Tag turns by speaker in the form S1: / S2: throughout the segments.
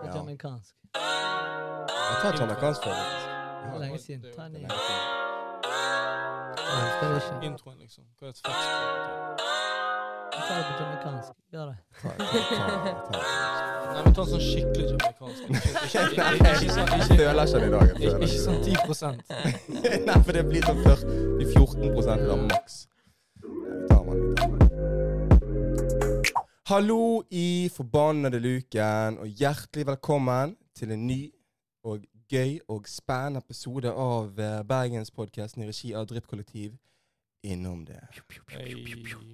S1: og
S2: Ja.
S1: jamaicansk.
S2: Jeg tar jamaicansk før. faktisk.
S1: Det er lenge siden. Ta en
S2: Det
S1: ny.
S2: er lenge siden.
S1: Jeg husker det ikke.
S3: Introen, liksom. Hva er et fett språk?
S1: Ta det på jamaicansk. Gjør det.
S2: Ta- ta- ta- ta-
S3: Nei, men ta en sånn skikkelig jamaicansk. Ikke, ikke, ikke, ikke, sånn-
S2: Jeg
S3: ikke,
S2: føler ikke den i dag. Jeg
S3: ikke,
S2: føler
S3: ikke sånn 10 prosent.
S2: Nei, for det blir sånn før de 14 da, maks. Ja, vi tar den, vi tar den. Hallo i forbannede luken, og hjertelig velkommen til en ny og gøy og spennende episode av eh, Bergenspodkasten i regi av Dryppkollektiv. Innom det.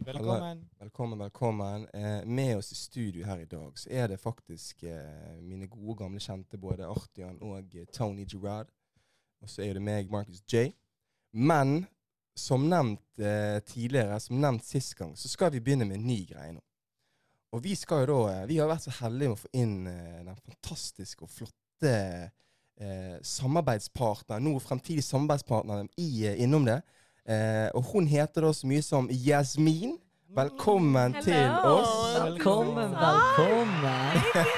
S3: Velkommen.
S2: Velkommen, velkommen. Eh, med oss i studio her i dag så er det faktisk eh, mine gode, gamle kjente, både Artian og eh, Tony Gerrard. Og så er det meg, Marcus J. Men som nevnt eh, tidligere, som nevnt sist gang, så skal vi begynne med en ny greie nå. Og vi skal jo da eh, Vi har vært så heldige med å få inn eh, den fantastiske og flotte eh, samarbeidspartneren, nå fremtidig samarbeidspartneren i eh, Innom det. Eh, og hun heter da så mye som Jasmin. Velkommen
S4: Hello.
S2: til oss.
S1: Velkommen,
S2: sånn.
S4: Takk.
S1: velkommen.
S4: Thank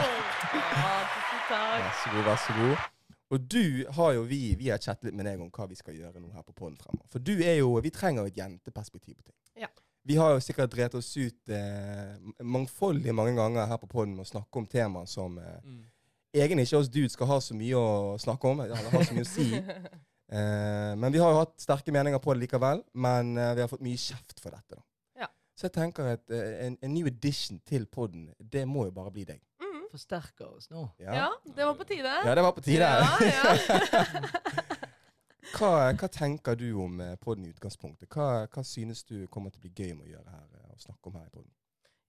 S4: you. Å, tusen takk.
S2: Vær så god, vær så god. Og du har jo vi, vi har chattet litt med deg om hva vi skal gjøre nå her på podden fremover. For du er jo, vi trenger jo et jenteperspektiv på ting.
S4: Ja.
S2: Vi har jo sikkert drevet oss ut eh, mangfoldig mange ganger her på podden og snakke om temaer som eh,
S3: Mm.
S2: egentlig ikke oss dudes skal ha så mye å snakke om, eller ha så mye å si. Eh, men vi har jo hatt sterke meninger på det likevel, men eh, vi har fått mye kjeft for dette. da.
S4: Ja.
S2: Så jeg tenker at eh, en, en new edition til podden, det må jo bare bli deg.
S4: Mm.
S1: Forsterker oss nå.
S4: Ja, det var på tide.
S2: Ja, det var på tide.
S4: Ja,
S2: hva, hva tenker du om eh, podden i utgangspunktet? Hva, hva synes du kommer til å bli gøy med å gjøre her, eh, å snakke om her i podden?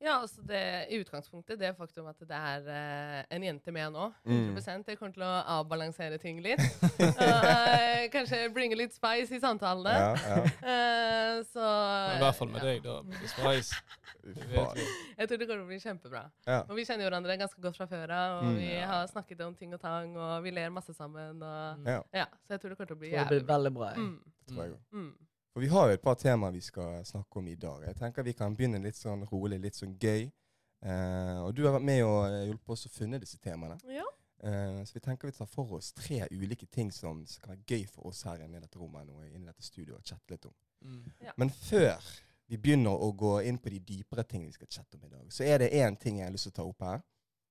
S4: Ja, altså det, I utgangspunktet, det faktum at det er eh, en jente med nå,
S2: Mm.
S4: 100 det kommer til å avbalansere ting litt. Og, eh, kanskje bringe litt spice i samtalene.
S2: Ja, ja.
S4: Eh, så
S3: Men I hvert fall med
S4: ja.
S3: deg, da. blir det Spice. Det vet vi.
S4: Jeg tror det kommer til å bli kjempebra.
S2: Ja.
S4: Og vi kjenner hverandre ganske godt fra før av, og
S2: Mm.
S4: vi
S2: Ja.
S4: har snakket om ting og tang, og vi ler masse sammen. Og,
S2: Ja.
S4: ja, så jeg tror det kommer til å bli
S1: Det blir
S4: jævlig bra.
S1: veldig bra. jeg.
S4: Mm.
S2: Tror jeg.
S4: Mm.
S2: For vi har jo et par temaer vi skal snakke om i dag. Jeg tenker vi kan begynne litt sånn rolig, litt sånn gøy. Eh, og du har vært med og eh, hjulpet oss å funne disse temaene.
S4: Ja.
S2: Eh, så vi tenker vi tar for oss tre ulike ting som som kan være gøy for oss her inne i dette rommet nå, inne i dette studioet, og chatte litt om.
S3: Mm.
S2: Men før vi begynner å gå inn på de dypere tingene vi skal chatte om i dag, så er det én ting jeg har lyst til å ta opp her.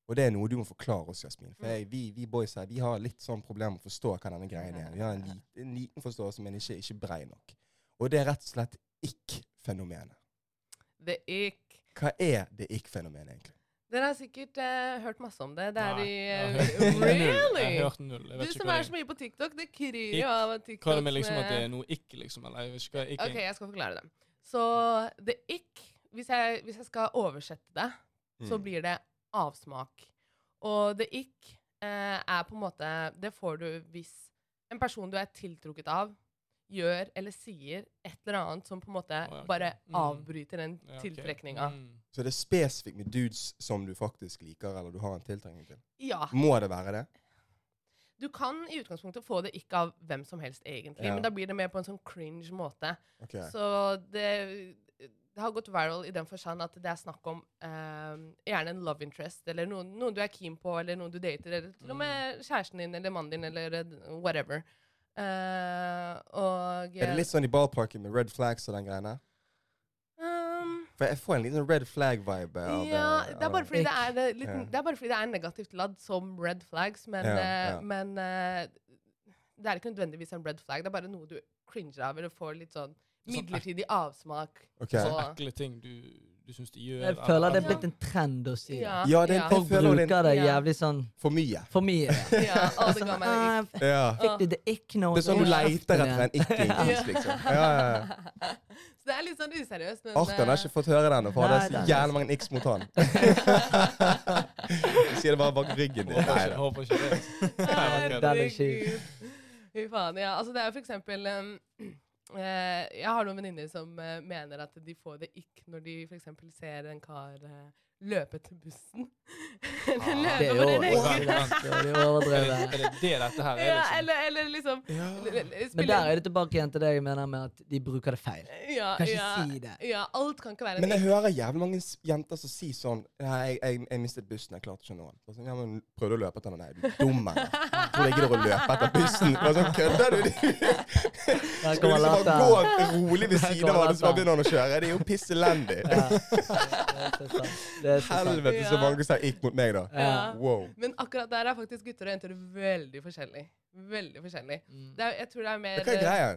S2: Og det er noe du må forklare oss, Jasmin. For jeg, vi, vi boys her, vi har litt sånn problem med å forstå hva denne greien er. Vi har en, lit, en liten forståelse, men ikke, ikke brei nok. Og det er rett og slett ikk-fenomenet.
S4: The Ick.
S2: Hva er det ikk-fenomenet, egentlig?
S4: Dere har sikkert eh, hørt masse om det. Det er
S3: Nei,
S4: i
S3: jeg har hørt
S4: eh,
S3: null. Jeg har
S4: Really?
S3: hørt null. Jeg
S4: Du
S3: vet ikke
S4: som
S3: hva
S4: er
S3: det
S4: så mye på TikTok, det kryr
S3: Ick.
S4: jo av TikTok.
S3: Hva er det med liksom at det er noe ikke, liksom? Eller jeg vet ikke hva ikke
S4: Ok, jeg skal forklare det. Så the ick, hvis jeg, hvis jeg skal oversette det, så
S3: Mm.
S4: blir det avsmak. Og the ick eh, er på en måte Det får du hvis en person du er tiltrukket av, gjør eller sier et eller annet som på en måte
S3: Å, ja, ok.
S4: bare
S3: Mm.
S4: avbryter den
S3: Ja, ok.
S4: tiltrekninga.
S3: Mm.
S2: Så det er spesifikt med dudes som du faktisk liker, eller du har en tiltrengning til.
S4: Ja.
S2: Må det være det?
S4: Du kan i utgangspunktet få det ikke av hvem som helst, egentlig,
S2: Ja.
S4: men da blir det mer på en sånn cringe måte.
S2: Ok.
S4: Så det, det har gått viral i den forstand at det er snakk om eh, gjerne en love interest, eller noen, noen du er keen på, eller noen du dater, eller til og
S2: Mm.
S4: med kjæresten din eller mannen din, eller eh, whatever. Eh, og
S2: Er det litt sånn i ballparken med red flags og den greien der?
S4: ehm,
S2: For jeg får en liten red flag-vibe av
S4: Ja, det er bare fordi det er,
S1: Ikke-
S4: det, er litt,
S2: Ja.
S4: det er bare fordi det er negativt ladd som red flags, men,
S2: Ja,
S4: eh,
S2: ja.
S4: men eh, det er ikke nødvendigvis en red flag. Det er bare noe du cringer av, eller får litt sånn
S3: Sånn
S4: midlertidig avsmak.
S2: Ok.
S3: Så
S4: Ja.
S3: ekle ting du, du syns de gjør.
S1: Jeg føler det er
S4: Ja.
S1: blitt en trend å si. det.
S2: Ja, det er
S4: ja,
S2: en-
S1: Folk
S2: Jeg føler det-
S1: bruker det
S4: Ja.
S1: jævlig sånn
S2: For mye.
S1: for mye.
S4: ja, å, det ga meg det
S1: Ah,
S4: ikke.
S1: f-
S2: Ja.
S1: Fikk du det ikke nå?
S2: Det er sånn du leiter etter en
S4: Ja.
S2: ikke-increase, liksom. Ja, ja, ja.
S4: Så det er litt sånn useriøst, men
S2: Arthur han har ikke
S4: eh,
S2: fått høre den, for det er
S1: Nei,
S2: så
S1: det er-
S2: jævlig mange x mot han. Du sier det bare bak ryggen din.
S3: Håper
S2: Nei,
S3: ikke,
S2: da.
S3: håper ikke det.
S4: herregud.
S1: Den er sjuk.
S4: Fy faen, ja. Altså, det er jo for eksempel um, eh, Jeg har noen venninner som eh, mener at de får det ikke når de for eksempel ser en kar eh, løpe til bussen. Eller
S1: Det er
S4: Nå må
S1: jo
S4: dere-
S1: overraskende. Det er jo
S3: Er det er
S1: overdrevet.
S3: det det dette her er,
S4: Ja,
S3: liksom?
S4: eller, eller liksom
S2: Ja.
S1: Men der er det tilbake igjen til det jeg mener med at de bruker det feil.
S4: ja,
S1: Kan ikke
S4: ja,
S1: si det.
S4: Ja, alt kan ikke være en
S2: Men jeg
S4: dikt.
S2: hører jævlig mange s- jenter som sier sånn Nei, jeg, jeg, jeg mistet bussen, jeg klarte ikke å nå den. Og Sånn, ja, men prøvde å løpe etter den. Nei, er du dum, eller? Tror du jeg gidder å løpe etter bussen? Og Sånn, kødder du?
S1: Der
S2: Skal du
S1: kommer
S2: liksom bare
S1: latteren.
S2: gå rolig ved
S1: Der
S2: siden av
S1: kommer
S2: alle som bare
S1: latteren.
S2: begynner å kjøre? Det er jo piss elendig.
S1: Ja. Det er så sant. Det er så sant.
S2: Helvete, så
S4: Ja.
S2: mange som gikk mot meg, da.
S1: Ja.
S4: Ja.
S2: Wow.
S4: Men akkurat der er faktisk gutter og jenter veldig forskjellig. Veldig forskjellig.
S1: Mm.
S4: Det er, jeg tror det er
S2: Hva
S4: mer eh,
S2: er greia?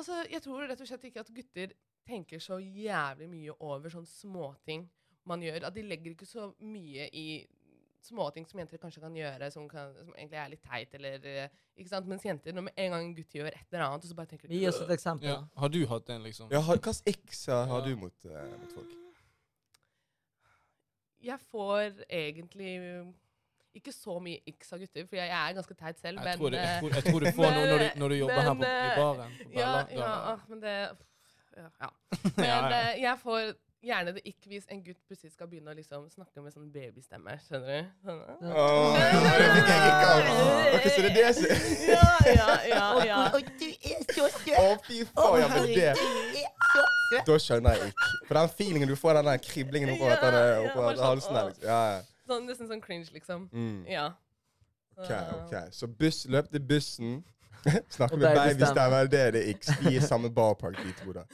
S4: Altså, jeg tror rett og slett ikke at gutter tenker så jævlig mye over sånne småting man gjør. At de legger ikke så mye i småting som jenter kanskje kan gjøre, som, kan, som egentlig er litt teit, eller eh, Ikke sant? Mens jenter, når med en gang en gutt gjør et eller annet, og så bare tenker de "Øh."
S1: Gi oss et eksempel.
S3: Ja. Har du hatt en, liksom?
S2: Ja, har- Hvilke x har du mot, eh, mot folk?
S4: Jeg får egentlig eh, ikke så mye x av gutter, for jeg, jeg er ganske teit selv,
S3: Jeg
S4: men
S3: tror, det, jeg,
S4: eh,
S3: tror, jeg tror du får noe når du, når du jobber her
S4: Men,
S3: på, i
S4: eh,
S3: baren. på
S4: Ja,
S3: Berlanda.
S4: ja, ah, men det Ja. ja. Men
S3: Ja, ja.
S4: eh, jeg får gjerne det ikke hvis en gutt plutselig skal begynne å liksom snakke med sånn babystemme. Skjønner du? Sånn, eh.
S2: Åh, det fikk jeg ikke av. Ok, så det er det som
S4: Ja, ja, ja. ja.
S2: Å, fy faen, ja, men det Da skjønner jeg ikke. For den feelingen du får, den der kriblingen oppå
S4: Ja,
S2: etter det-
S4: ja,
S2: oppå
S4: bare
S2: etter
S4: sånn,
S2: halsen der.
S4: åh.
S2: Liksom. Ja, ja.
S4: Sånn, nesten sånn cringe, liksom.
S2: Mm.
S4: Ja.
S2: Ok, ok. Så buss, løp til bussen. Snakke
S1: Og
S2: med
S1: babystemme.
S2: babystemme. Det er det ikke. Vi er i samme barpark, de to. da.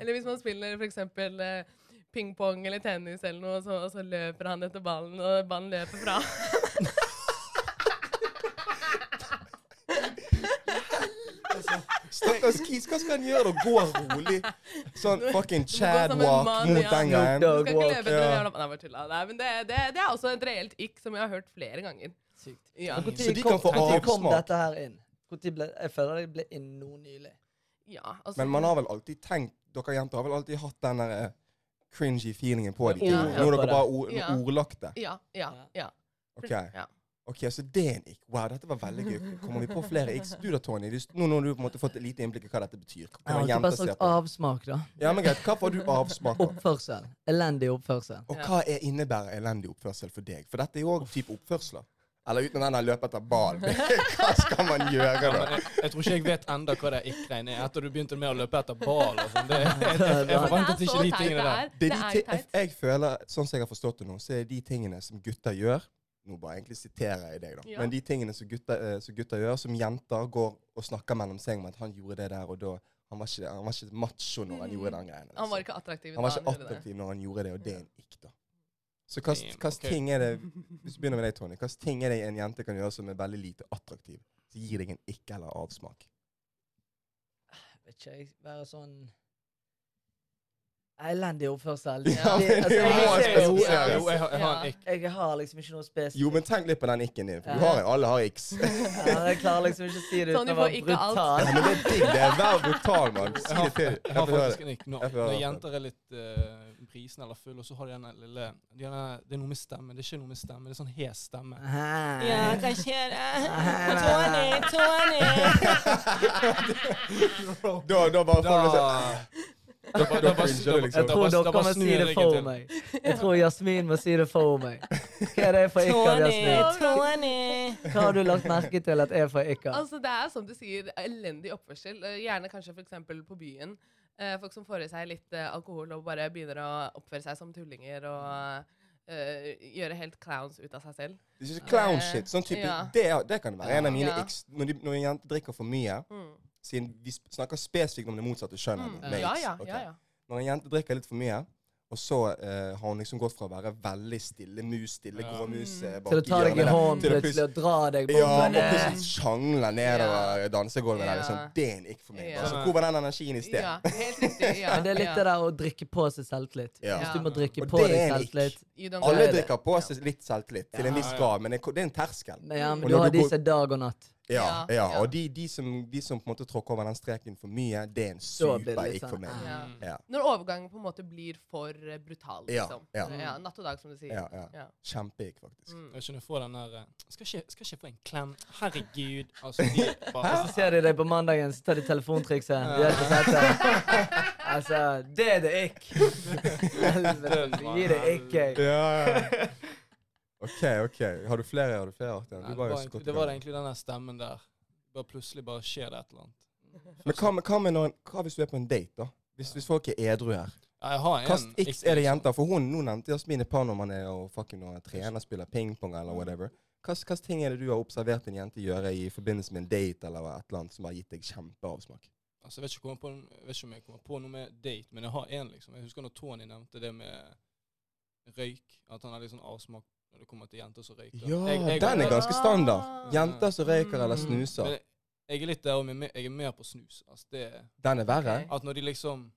S4: Eller hvis man spiller for eksempel eh, pingpong eller tennis eller noe, og så, og så løper han etter ballen, og ballen løper fra.
S2: Stakkars Kis, hva skal han gjøre? da? Gå rolig. Sånn fucking
S4: Du må gå som en
S2: Chad-walk
S4: mann,
S2: mot
S4: ja.
S2: den
S1: No
S2: gangen.
S1: dog.
S4: Du skal ikke
S1: walk,
S4: løpe etter
S2: ja.
S4: ja. Nei, bare tulla. Nei, men det, det, det er også et reelt ikk som jeg har hørt flere ganger.
S1: Sykt.
S4: Ja.
S1: Men hvor
S2: Så
S1: tid
S2: de
S1: kom-
S2: kan få
S1: hvor tid kom
S2: avsmak.
S1: dette her inn? Hvor tid ble, jeg føler det ble inn nå nylig.
S4: Ja, altså,
S2: Men man har vel alltid tenkt, dere jenter har vel alltid hatt den der eh, cringy feelingen på dem.
S4: Ja,
S2: Nå er
S1: ja.
S2: dere bare ord,
S4: Ja.
S2: ordlagte.
S4: Ja, ja, ja.
S2: Ok,
S4: ja.
S2: ok, så det er en ikk. Wow, dette var veldig gøy. Kommer vi på flere ikk? Du da, Tony? Hvis, nå når du på en måte fått et lite innblikk i hva dette betyr. hva
S1: Jeg har ikke
S2: jenter
S1: bare sånn,
S2: ser
S1: snakket
S2: på.
S1: avsmak, da.
S2: Ja, men greit. Hva får du avsmak av?
S1: Oppførsel. Elendig oppførsel.
S2: Og hva er innebærer elendig oppførsel for deg? For dette er jo òg type oppførsler. Eller uten den der løpet etter ballen. hva skal man gjøre
S3: Men
S2: da?
S3: jeg, jeg tror ikke jeg vet enda hva det ikke-greien er, etter du begynte med å løpet etter ball og sånn. Det- Jeg, jeg, jeg
S4: Men det
S3: forventet
S4: er så
S3: ikke de
S4: teit
S3: tingene der.
S4: Det
S2: Det er de
S4: er jo
S2: ti- jeg,
S4: teit.
S2: jeg føler, sånn som jeg har forstått det nå, så er de tingene som gutter gjør Nå bare egentlig siterer jeg deg, da.
S4: Ja.
S2: Men de tingene som gutter, eh, som gutter gjør, som jenter går og snakker mellom seg om at han gjorde det der og da Han var ikke, han var ikke macho når han gjorde den greien.
S4: Mm. Han var ikke attraktiv.
S2: han var
S4: da
S2: ikke
S4: gjorde det.
S2: attraktiv når han gjorde det, og det er en ikk, da. Så hva
S3: Damn,
S2: slags
S3: ok.
S2: ting er det Hvis vi begynner med deg, Tony. Hva slags ting er det en jente kan gjøre som er veldig lite attraktiv? Som gir deg en ikk eller avsmak?
S1: Vet ikke, jeg være sånn Elendig oppførsel.
S2: Ja,
S1: Det-
S2: men
S1: altså,
S2: det
S1: jeg-
S2: må
S1: jeg-
S2: spesifiseres.
S3: Jo,
S1: jeg-
S3: jeg, jo, jeg, har- jeg har en
S4: Ja.
S3: ikk.
S1: Jeg har liksom ikke noe spesifikt.
S2: Jo, men tenk litt på den ikken din, for du
S1: Ja.
S2: har en. Alle har ikks.
S1: Ja, jeg klarer liksom ikke å si det uten
S4: Tony
S1: å være
S4: Sånn, får ikke alt.
S1: brutal.
S2: Ja, men det er digg. Det er Vær brutal, mann. Si
S3: Jeg har,
S2: det til.
S3: jeg har
S2: får høre
S3: faktisk en ikk. Når,
S2: Jeg får høre
S3: når
S2: det.
S3: jenter er litt uh, brisne eller fulle, og så har de den lille de har den- Det er noe med stemme. Det er ikke noe med stemme, det er sånn hes stemme.
S1: Hei.
S5: hva skjer?
S1: Tony,
S5: Tony!
S2: Da, da bare får
S3: Da,
S2: du sånn
S3: da, bare- da, bare-
S2: cringe du, liksom.
S1: Jeg tror
S3: bare-
S1: dere
S3: bare
S1: må
S3: snur
S1: si
S3: jeg
S1: det
S3: ryggen
S1: for
S3: til.
S1: meg. Jeg tror Jasmin må si det for meg. Hva er det for ikke, Jasmin?
S5: Tony!
S1: Hva har du lagt merke til at er for ikke?
S4: Altså, det er som du sier, elendig oppførsel. Eh, Gjerne kanskje for eksempel på byen. Eh, folk som får i seg litt eh, alkohol og bare begynner å oppføre seg som tullinger og eh, gjøre helt clowns ut av seg selv.
S2: Det er ikke clown shit. Sånn type,
S4: Ja.
S2: det, er- det kan være en av mine
S4: Ja.
S2: x. Når, de, når en jente drikker for mye,
S4: Mm.
S2: siden vi sp- snakker spesifikt om det motsatte kjønn
S4: Mm.
S2: enn med
S4: Ja,
S2: x.
S4: ja,
S2: ok?
S4: ja, ja.
S2: Når en jente drikker litt for mye, og så eh, har hun liksom gått fra å være veldig stille mus, stille
S3: Ja.
S2: gråmus eh, bak
S1: Til å ta deg i
S2: hjørnet der,
S1: hånden
S2: til å
S1: plutselig og dra deg
S2: Ja, og
S1: bort.
S2: plutselig sjangler nedover dansegulvet der.
S4: Ja.
S2: Liksom, det er en ikk for meg.
S4: Ja.
S2: Altså, hvor var den energien i sted?
S4: ja, helt riktig. Ja,
S1: Men det er litt
S4: ja.
S1: det der å drikke på seg selvtillit.
S2: Ja.
S1: Hvis du må drikke
S2: Og
S1: på
S2: det
S1: deg
S2: er lik.
S1: selvtillit
S4: You don't
S1: det
S2: Alle
S1: er det.
S2: drikker på seg litt selvtillit, til en
S3: Ja.
S2: viss grad, men det er ko- det er en terskel.
S1: Men ja, men
S2: Og
S1: du
S2: når
S1: har
S2: du
S1: de
S2: går-
S1: som er dag og natt.
S2: Ja,
S4: Ja,
S2: ja.
S4: ja.
S2: og de, de, som, de som på en måte tråkker over den streken for mye, det er
S1: Da blir
S2: en
S1: det
S2: super
S1: litt
S2: ikk for
S1: sånn,
S2: meg.
S4: Ja.
S2: Ja.
S4: Når overgangen på en måte blir for eh, brutal,
S2: Ja,
S4: liksom.
S2: ja.
S4: natt og dag, som du sier.
S2: Ja, ja. Kjempeikk, faktisk.
S4: Mm.
S3: Jeg skjønner, jeg får den der eh, Skal ikke, skal ikke få en klem. Herregud. Altså, de bare
S1: Så ser de deg på mandagen, så tar de telefontrikset. De har ikke sett det. Altså, det er det ikk. Helvete, Gi det ikk, jeg.
S2: Ja, ja. OK, ok. Har du flere? Har du flere arter?
S3: Nei,
S2: Du var
S3: det, var
S2: jo så
S3: egentlig,
S2: godt i
S3: det var
S2: gang.
S3: egentlig den der stemmen der. Bare plutselig bare skjer det et eller annet.
S2: Men hva, med- hva, med når, hva hvis du er på en date, da? Hvis, hvis folk er edru her.
S3: Ja, jeg har en
S2: Kast X er det
S3: liksom.
S2: jenter. For hun, nå nevnte Jasmin et par når man er og fucking og trener, spiller pingpong
S3: Mm.
S2: eller whatever. Hvilke ting er det du har observert en jente gjøre i forbindelse med en date eller et eller annet som har gitt deg kjempeavsmak?
S3: Altså, jeg, vet ikke om jeg, kommer på, jeg vet ikke om jeg kommer på noe med date, men jeg har en liksom. Jeg husker når Tony nevnte det med røyk, at han har litt sånn avsmak når det kommer til jenter som røyker.
S2: Ja,
S3: Jeg- jeg-
S2: den er
S4: ga-
S2: ganske standard.
S4: Ah.
S2: Jenter som røyker eller
S4: Mm.
S2: snuser.
S3: Men Jeg er litt der, og jeg er mer på snus. Altså, det,
S2: Den er verre.
S4: Ok.
S3: at når de liksom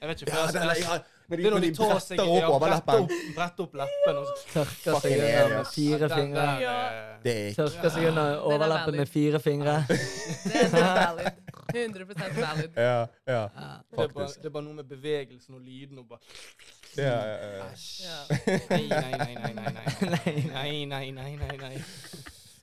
S3: Jeg vet ikke, for
S2: Ja,
S3: jeg-
S2: den er,
S3: jeg-
S2: ja. Når
S3: altså, det er
S2: de,
S3: når de tar seg
S2: bretter opp
S3: ja, bretter
S2: overleppen.
S3: opp- bretter opp leppen og så
S1: Tørker seg
S2: Fucking
S1: unna med
S2: aliens.
S1: fire
S3: Den
S1: fingre.
S3: der,
S5: Ja.
S3: eh,
S2: Det er ikke
S1: Tørker seg unna overleppen med fire fingre.
S4: Det er valid. 100 valid.
S2: Ja, ja.
S3: det, er bare,
S2: Faktisk.
S3: det er bare noe med bevegelsen og lyden og bare
S2: Ja, ja, ja.
S3: Æsj.
S4: Ja.
S3: Nei, nei, nei, nei, nei, nei. Nei, nei, nei, nei, nei.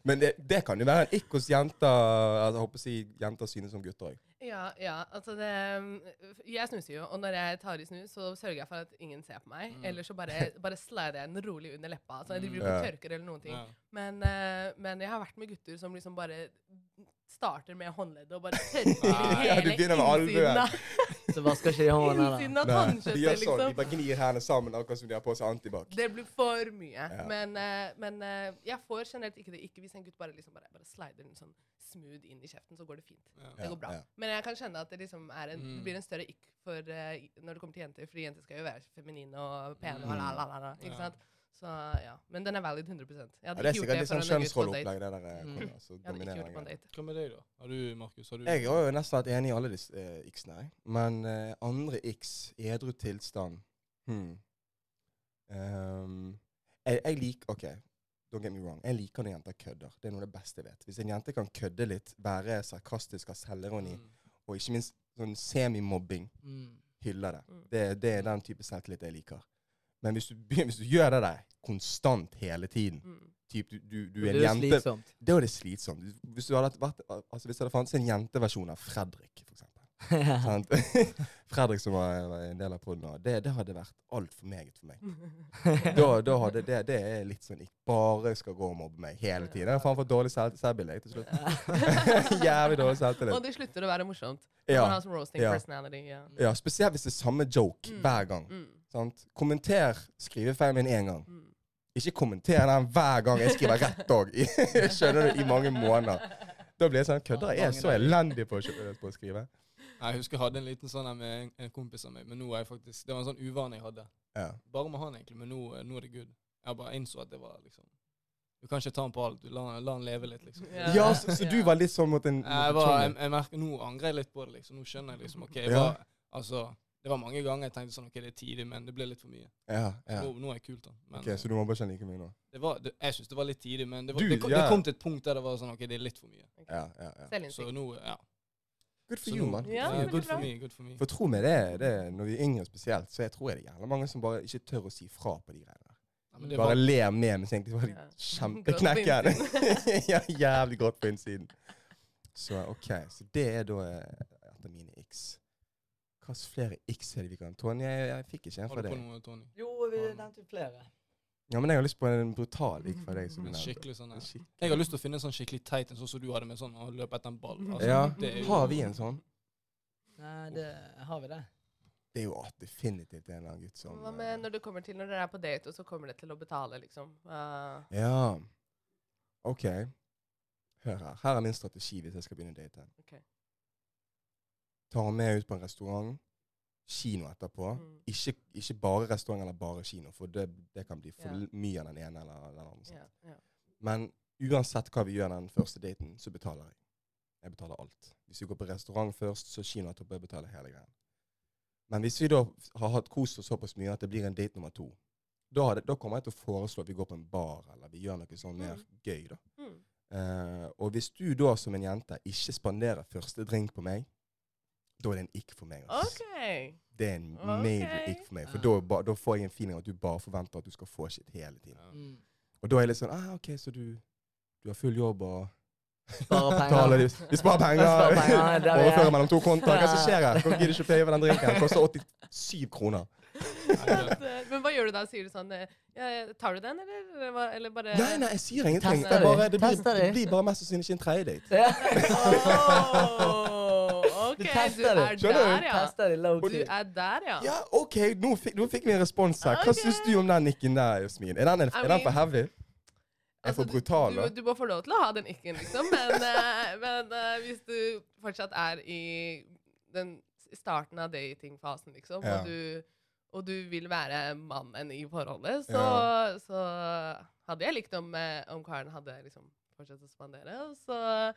S2: Men det, det kan jo være en ikk hos jenter altså, Jeg håper å si jenter synes som gutter òg.
S4: Ja, ja. Altså det Jeg snuser jo, og når jeg tar i snus, så sørger jeg for at ingen ser på meg.
S3: Mm.
S4: Eller så bare, bare slider jeg den rolig under leppa. Så jeg driver ikke
S2: Mm.
S4: og
S2: Ja.
S4: tørker eller noen ting.
S3: Ja.
S4: Men, eh, men jeg har vært med gutter som liksom bare starter med håndleddet og bare tørker
S3: Ja,
S4: hele
S2: Ah, du begynner med
S4: innsiden
S2: albuen.
S4: av,
S1: Så vasker ikke de hånda der.
S4: innsiden av
S2: De gjør
S4: tannkjøttet,
S2: sånn, de
S4: liksom.
S2: bare gnir hendene sammen, akkurat som de har på seg antibac.
S4: Det blir for mye.
S2: Ja.
S4: Men, eh, men eh, jeg får generelt ikke det ikke hvis en gutt bare, liksom bare, bare slider den sånn smooth inn i kjeften, så går det fint.
S3: Ja.
S4: Det går bra.
S2: Ja, ja.
S4: Men jeg kan skjønne at det liksom er en,
S3: Mm.
S4: det blir en større ikk for, eh, når det kommer til jenter, fordi jenter skal jo være feminine og pene
S3: Mm.
S4: og la, la, la, la, ikke
S3: Ja.
S4: sant? Så ja, men den er valid 100 Jeg
S2: Ja,
S4: hadde
S2: det er
S4: ikke gjort
S2: sikkert
S4: det
S2: litt
S4: for
S2: sånn
S4: en gutt på en date.
S2: kjønnsrolleopplegg, det der. eh,
S1: Mm.
S2: kommer, altså,
S4: Jeg hadde ikke gjort det på en
S2: dominering.
S4: date.
S3: Hva med deg, da? Har du, Markus? Har du
S2: Jeg har jo nesten vært enig i alle disse eh, x-ene, jeg. men eh, andre x, edru tilstand hmm. Ehm, jeg, jeg liker OK, don't get me wrong. Jeg liker når jenter kødder. Det er noe av det beste jeg vet. Hvis en jente kan kødde litt, være sarkastisk, ha selvironi,
S3: Mm.
S2: og ikke minst sånn semimobbing,
S3: Mm.
S2: hyller det.
S4: Mm.
S2: Det, det er den type selvtillit jeg liker. Men hvis du, begynner- hvis du gjør det der konstant hele tiden
S4: Mm.
S2: typ, du, du, du
S1: Det
S2: er
S1: er
S2: en
S1: jo
S2: jente,
S1: slitsomt.
S2: Det er jo det slitsomt. Hvis, du hadde vært, altså hvis det hadde fantes en jenteversjon av Fredrik, for eksempel. Sant? Fredrik som var, var en del av poden, det, det hadde vært altfor meget for meg. Da, da hadde det, det er litt sånn ikke bare skal gå og mobbe meg hele tiden. Jeg har faen for dårlig selv- selvbilde jeg, til slutt. Jævlig dårlig
S4: Og
S2: selvtillit.
S4: det slutter å være morsomt. Ja.
S2: Ja.
S4: Man har som roasting
S2: Ja.
S4: personality. Ja.
S2: ja, spesielt hvis det er samme joke
S4: Mm.
S2: hver gang.
S4: Mm.
S2: Sant? Kommenter skrivefeilen min én gang.
S4: Mm.
S2: Ikke kommenter den hver gang jeg skriver rett òg. Skjønner du? I mange måneder. Da blir jeg sånn Kødder jeg er så elendig på å, kjø- på å skrive?
S3: Nei, Jeg husker jeg hadde en liten sånn her med en, en kompis av meg, men nå er jeg faktisk Det var en sånn uvane jeg hadde.
S2: Ja.
S3: Bare med han, egentlig, men nå, eh, nå er det good. Jeg bare innså at det var liksom Du kan ikke ta han på alt. Du la, han- la han leve litt, liksom.
S4: Ja.
S2: ja, så, så du
S4: Ja.
S2: var litt sånn mot en mot
S3: Jeg
S2: en
S3: var, jeg,
S2: Johnny.
S3: jeg merker, Nå angrer jeg litt på det, liksom. Nå skjønner jeg liksom OK, jeg
S2: Ja.
S3: var, altså Det var mange ganger jeg tenkte sånn OK, det er tidlig, men det ble litt for mye.
S2: Ja, ja.
S3: Nå, nå er jeg kult, da. Men
S2: Ok, Så du må bare kjenne like mye nå?
S3: det var, det, jeg syns det var litt tidlig, men det, var,
S2: Du,
S3: det, kom,
S2: ja.
S3: det kom til et punkt der det var sånn OK, det er litt for mye.
S2: Ja, ja, ja.
S3: Så
S4: Selvinnsikt.
S3: nå, ja.
S2: Good for
S3: Så
S2: you,
S3: nå-
S2: man.
S4: Ja,
S3: ja,
S4: veldig
S3: good
S4: bra.
S3: for me, good for me.
S2: For tro meg, det, det er- når vi er yngre spesielt, så jeg tror det er gjerne mange som bare ikke tør å si fra på de greiene. der.
S3: Ja, men det
S2: Bare
S3: var,
S2: ler med, mens egentlig var de
S4: Ja.
S2: kjempeknekken.
S4: Grått på
S2: ja, jævlig godt på innsiden. Så OK, så det er da eh, et av mine x. Hvilke flere x er det vi kan Tonje, jeg, jeg fikk ikke en
S3: har
S2: fra
S3: du på
S2: deg.
S3: noe, Tony?
S1: Jo,
S3: vi nevnte
S1: flere.
S2: Ja, men jeg har lyst på en brutal x fra deg. Som
S3: En
S2: du nevnte.
S3: skikkelig sånn her.
S2: Skikkelig.
S3: Jeg har lyst til å finne en sånn skikkelig teit en sånn som du hadde med sånn å løpe etter en ball. Altså,
S2: Ja,
S3: det er jo-
S2: har vi en sånn?
S1: Nei, det har vi det.
S2: Det er jo definitivt en eller annen gutt som
S4: Hva
S2: eh,
S4: med når det kommer til når dere er på date, og så kommer det til å betale, liksom? Uh,
S2: Ja. OK. Hør her. Her er min strategi hvis jeg skal begynne å date.
S4: Ok.
S2: Ta henne med ut på en restaurant. Kino etterpå.
S4: Mm.
S2: Ikke, ikke bare restaurant eller bare kino, for det, det kan bli for
S4: Ja.
S2: mye av den ene eller den andre. sant?
S4: ja, ja.
S2: Men uansett hva vi gjør den første daten, så betaler jeg. Jeg betaler alt. Hvis vi går på restaurant først, så kino etterpå. Jeg betaler hele greien. Men hvis vi da har hatt kost oss såpass mye at det blir en date nummer to, da, har det, da kommer jeg til å foreslå at vi går på en bar, eller vi gjør noe sånn mer gøy, da.
S4: Mm.
S2: Eh, og hvis du da som en jente ikke spanderer første drink på meg, da er det en ikk for meg. ass.
S4: OK.
S2: Det er en
S4: Ok.
S2: major ikk for meg. For
S1: Ah.
S2: da, ba- da får jeg en feeling av at du bare forventer at du skal få shit hele tiden.
S3: Ja.
S1: Mm.
S2: Og da er jeg litt sånn ah, OK, så du, du har full jobb og
S1: Sparer
S2: Taler
S1: penger.
S2: de- Vi
S1: Sparer
S2: sparer penger!
S1: penger, der vi er.
S2: Overfører mellom to kontoer. Hva som skjer her? Hvorfor gidder du ikke å paye for den drinken? Den koster 87 kroner.
S4: eh, Men hva gjør du da? Sier du sånn eh, ja, Tar du den, eller? eller hva- Eller bare
S2: Nei, nei, jeg sier ingenting.
S1: Tester
S2: Jeg bare,
S1: du?
S2: det, blir,
S1: Tester du?
S2: det blir bare mest sannsynlig ikke en tredje date.
S1: Ja.
S4: Åh, OK,
S1: Du
S4: du
S1: tester
S4: er
S1: det.
S2: Skjønner
S4: der, ja.
S1: Tester det low
S4: Du
S1: key.
S4: er der, ja.
S2: Ja, OK, nå fikk, nå fikk vi en respons her. Hva
S4: Ok.
S2: syns du om den nikken der, Josmin? Er den, er,
S4: I
S2: den for
S4: mean-
S2: heavy? Er
S4: Altså,
S2: for
S4: du-
S2: brutal, da?
S4: Du, du må få lov til å ha den ikke, liksom. Men, eh, men eh, hvis du fortsatt er i den s- starten av datingfasen, liksom,
S2: Ja.
S4: og, du, og du vil være mannen i forholdet, så,
S2: Ja.
S4: så hadde jeg likt om, eh, om karen hadde liksom fortsatt å spandere. Og så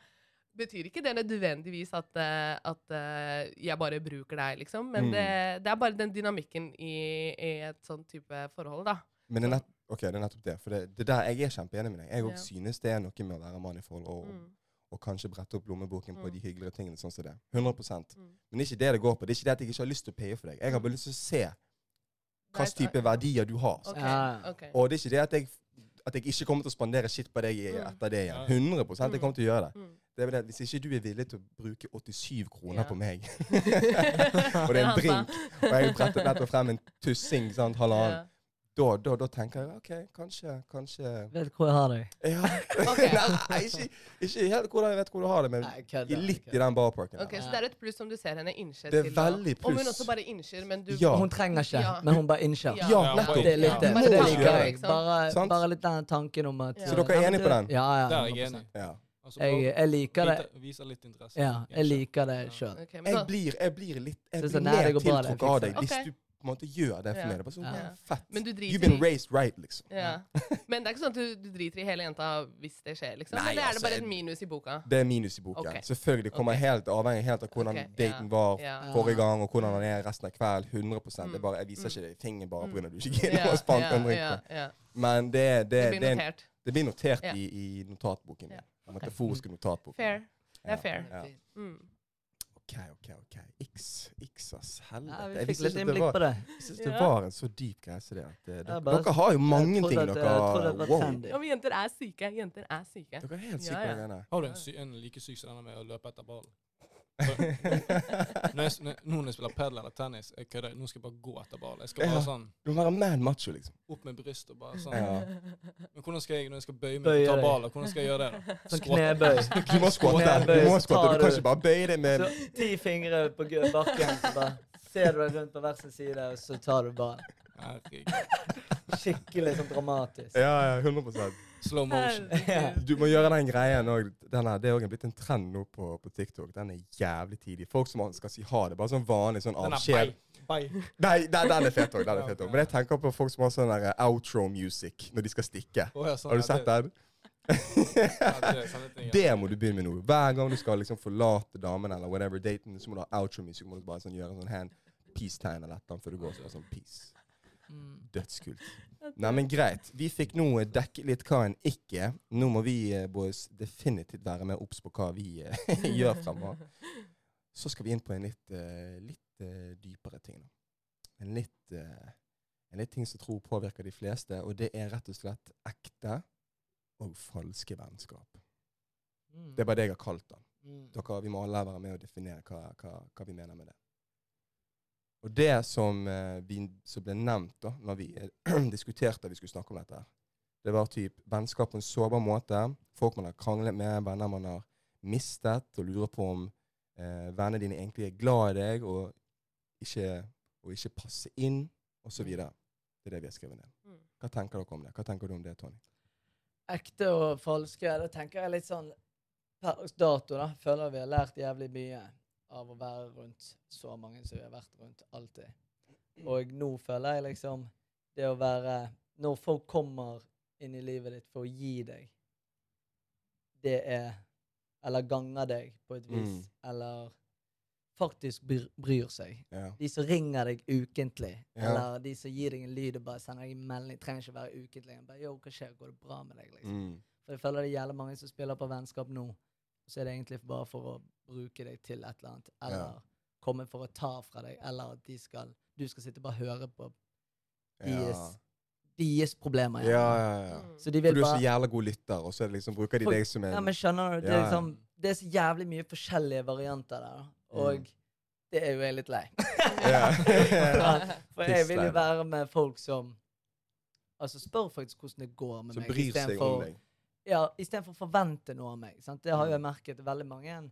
S4: betyr ikke det nødvendigvis at, eh, at eh, jeg bare bruker deg, liksom. Men
S2: Mm.
S4: det, det er bare den dynamikken i, i et sånn type forhold, da.
S2: Men det er, nett, ok, det er nettopp det. For det, det der jeg er kjempeenig med deg. Jeg
S4: Ja.
S2: også synes det er noe med å være mann i forhold og,
S4: Mm.
S2: og kanskje brette opp lommeboken på
S4: Mm.
S2: de hyggeligere tingene. sånn som det. 100
S4: Mm.
S2: Men det er ikke det det går på. Det er ikke det at jeg ikke har lyst til å paye for deg. Jeg har bare lyst til å se hva slags
S4: Nei,
S2: type verdier du har.
S4: Ok,
S1: Ja.
S4: ok.
S2: Og det er ikke det at jeg, at jeg ikke kommer til å spandere shit på deg i-
S4: Mm.
S2: etter det
S3: Ja.
S2: igjen. 100 jeg kommer til å gjøre det.
S4: Mm.
S2: Det er vel det, at Hvis ikke du er villig til å bruke 87 kroner
S4: Ja. altså.
S2: på meg,
S4: og
S2: og det er en drink, og jeg bretter nettopp frem en tussing, sant, halvannen, da, da, da tenker jeg OK, kanskje, kanskje
S1: Vet hvor jeg har deg.
S2: Ja.
S4: Ok.
S2: Nei, ikke, ikke helt hvordan jeg vet hvor du har det, men
S1: Nei, kødda.
S2: i litt i den barparken. der.
S4: Ok, Så det er et pluss om du ser henne innser
S2: Det er
S4: til å-
S2: veldig
S4: Om
S2: pluss.
S4: hun også bare innser, men du
S2: Ja.
S1: Hun trenger ikke,
S4: Ja.
S1: men hun bare innser.
S4: Ja.
S2: Ja,
S3: Ja,
S2: nettopp.
S1: Det er litt det.
S4: Ja.
S1: For det
S2: Må du
S1: liker
S2: gjøre.
S1: jeg. Bare,
S2: Sant?
S1: bare litt den tanken om at
S4: Så dere er
S1: Ja, men
S2: enige på
S1: det-
S2: den?
S1: Ja, ja.
S3: Der er jeg
S1: 100%.
S3: enig.
S2: Ja.
S3: Altså,
S1: Jeg, jeg liker det.
S3: Vise, vise litt interesse.
S1: Ja, jeg
S3: Ikke?
S1: liker det sjøl.
S4: Ok, men
S2: Jeg
S4: da-
S2: blir, jeg blir litt jeg
S1: Så
S2: blir
S1: sånn, nei,
S2: mer
S1: det går bra, det
S2: tiltrukket
S1: fikser
S2: av deg
S4: jeg.
S2: hvis
S4: Ok.
S2: du på en måte gjør det for
S4: Ja.
S2: meg. Det er bare sånn,
S1: Ja.
S2: ja, fett.
S4: Men du driter
S2: You've been
S4: i-
S2: raised right, liksom.
S4: ja. Men det er ikke sånn at du, du driter i hele jenta hvis det skjer, liksom?
S2: Nei,
S4: Eller er
S2: altså,
S4: det bare
S2: jeg-
S4: et minus i boka?
S2: Det er minus i boken.
S4: Ok.
S2: Selvfølgelig. Det kommer
S4: Ok.
S2: helt avhengig helt av hvordan
S4: Ok, ja.
S2: daten var
S4: Ja.
S2: forrige gang, og hvordan den er resten av kvelden. 100 det er
S4: Mm.
S2: bare, Jeg viser ikke
S4: Mm.
S2: deg fingeren bare
S4: Mm.
S2: pga. at du ikke gidder
S4: Ja,
S2: å spanke
S4: ja,
S2: en drink.
S4: ja,
S2: på.
S4: ja.
S2: Men det, det,
S4: Det blir
S2: det, er en-
S4: notert.
S2: det blir notert
S4: Ja.
S2: i, i notatboken
S4: Ja.
S2: min. Den metaforiske notatboken.
S4: Fair. Det
S2: Ja.
S4: er fair.
S2: Ja.
S4: Mm.
S2: OK, OK. ok. X, X ass.
S1: Ja,
S2: Helvete.
S1: vi
S2: Jeg
S1: fikk
S2: visste
S1: litt
S2: ikke at det
S1: innblikk
S2: var,
S1: på det.
S2: jeg synes det
S4: Ja.
S2: var en så dyp greie som det. at eh, dere,
S1: bare-
S2: dere har jo mange
S1: Jeg trodde
S2: ting
S1: at- eh,
S2: dere
S1: jeg trodde det var
S2: Wow.
S1: trendy.
S4: Ja, men jenter er syke. Jenter er syke.
S2: Dere er helt syke
S4: Ja,
S2: på
S4: ja.
S2: det greiene.
S3: Har du en, sy en like syk som denne med å løpe etter ballen? Når jeg, s- når, nå når jeg spiller padel eller tennis, jeg kødder, nå skal jeg bare gå etter ballen. Jeg skal
S2: Ja.
S3: bare sånn
S2: Du må være man macho, liksom.
S3: opp med bryst og bare sånn.
S2: Ja.
S3: Men hvordan skal jeg når jeg skal bøye meg
S1: Bøye
S3: og ta
S1: deg.
S3: ballen, hvordan skal jeg gjøre det? da?
S1: Sånn
S3: Squat.
S1: knebøy.
S2: Du må skvatte.
S1: Knebøy,
S2: Du må
S1: så
S2: skvatte.
S1: tar
S2: Du kan ikke bare bøye deg med
S1: Så ti fingre på gu- bakken, så bare ser du deg rundt på hver sin side, og så tar du bare
S3: Herregud.
S1: skikkelig sånn dramatisk.
S2: Ja, ja, 100
S3: Slow motion.
S2: Du må gjøre den greien òg. Det er òg blitt en trend nå på, på TikTok. Den er jævlig tidlig. Folk som skal si ha det, bare sånn vanlig sånn
S3: Den er
S2: avskjed.
S3: bei. Bei.
S2: Nei, den, den er fet òg. Den er fet også. Men jeg tenker på folk som har sånn der outro music når de skal stikke.
S3: Å, ja, sånn,
S2: Har du
S3: ja,
S2: sett
S3: det?
S2: den?
S3: Ja, det er sånne ting, ja.
S2: Det må du begynne med nå. Hver gang du skal liksom forlate damen eller whatever daten, så må du ha outro music. Må du bare sånn gjøre en sånn hand peace-tegn eller et eller annet før du går. Så bare sånn peace. Dødskult. Nei, men greit. Vi fikk nå eh, dekket litt hva en ikke er. Nå må vi eh, boys definitivt være mer obs på hva vi eh, gjør fremover. Så skal vi inn på en litt, eh, litt eh, dypere ting. nå. En litt, eh, en litt ting som jeg tror påvirker de fleste, og det er rett og slett ekte og falske vennskap. Det er bare det jeg har kalt den. Dere, vi må alle være med og definere hva, hva, hva vi mener med det. Og det som, eh, vi, som ble nevnt da når vi eh, diskuterte at vi skulle snakke om dette, her, det var typ vennskap på en sårbar måte. Folk man har kranglet med, venner man har mistet, og lurer på om eh, vennene dine egentlig er glad i deg og ikke, og ikke passer inn, osv. Det er det vi har skrevet ned.
S4: Mm.
S2: Hva tenker dere om det? Hva tenker du om det, Tony?
S1: Ekte og falske, da tenker jeg litt sånn per dags dato, da. Føler vi har lært jævlig mye av å være rundt så mange som vi har vært rundt alltid. Og nå føler jeg liksom det å være Når folk kommer inn i livet ditt for å gi deg, det er Eller ganger deg på et vis,
S2: Mm.
S1: eller faktisk bryr, bryr seg.
S2: Ja.
S1: De som ringer deg ukentlig,
S2: Ja.
S1: eller de som gir deg en lyd og bare sender deg en melding. Trenger ikke være ukentlig. Bare, Yo, hva skjer? Går det bra med deg? Liksom.
S2: Mm.
S1: For jeg føler det gjelder mange som spiller på vennskap nå. Så er det egentlig bare for å bruke deg til et eller annet, eller
S2: Ja.
S1: komme for å ta fra deg, eller at de skal, du skal sitte og bare høre på
S2: Ja.
S1: deres, deres problemer.
S2: ja, ja, ja.
S4: Mm.
S1: Så de
S2: For
S1: vil
S2: du er så
S1: bare
S2: jævla god lytter, og så er det liksom, bruker de
S1: For-
S2: deg som en
S1: Nei, men skjønner du? Det
S2: Ja,
S1: er,
S2: ja. Mm.
S1: liksom, det er så jævlig mye forskjellige varianter der. da. Og det er jo jeg litt lei.
S2: Ja.
S1: For jeg vil jo
S2: Pissleier.
S1: være med folk som Altså spør faktisk hvordan det går med
S2: Som
S1: meg,
S2: bryr seg om
S1: istedenfor
S2: deg.
S1: ja, i stedet for å forvente noe av meg. Sant? Det har
S2: Mm.
S1: jo jeg merket veldig mange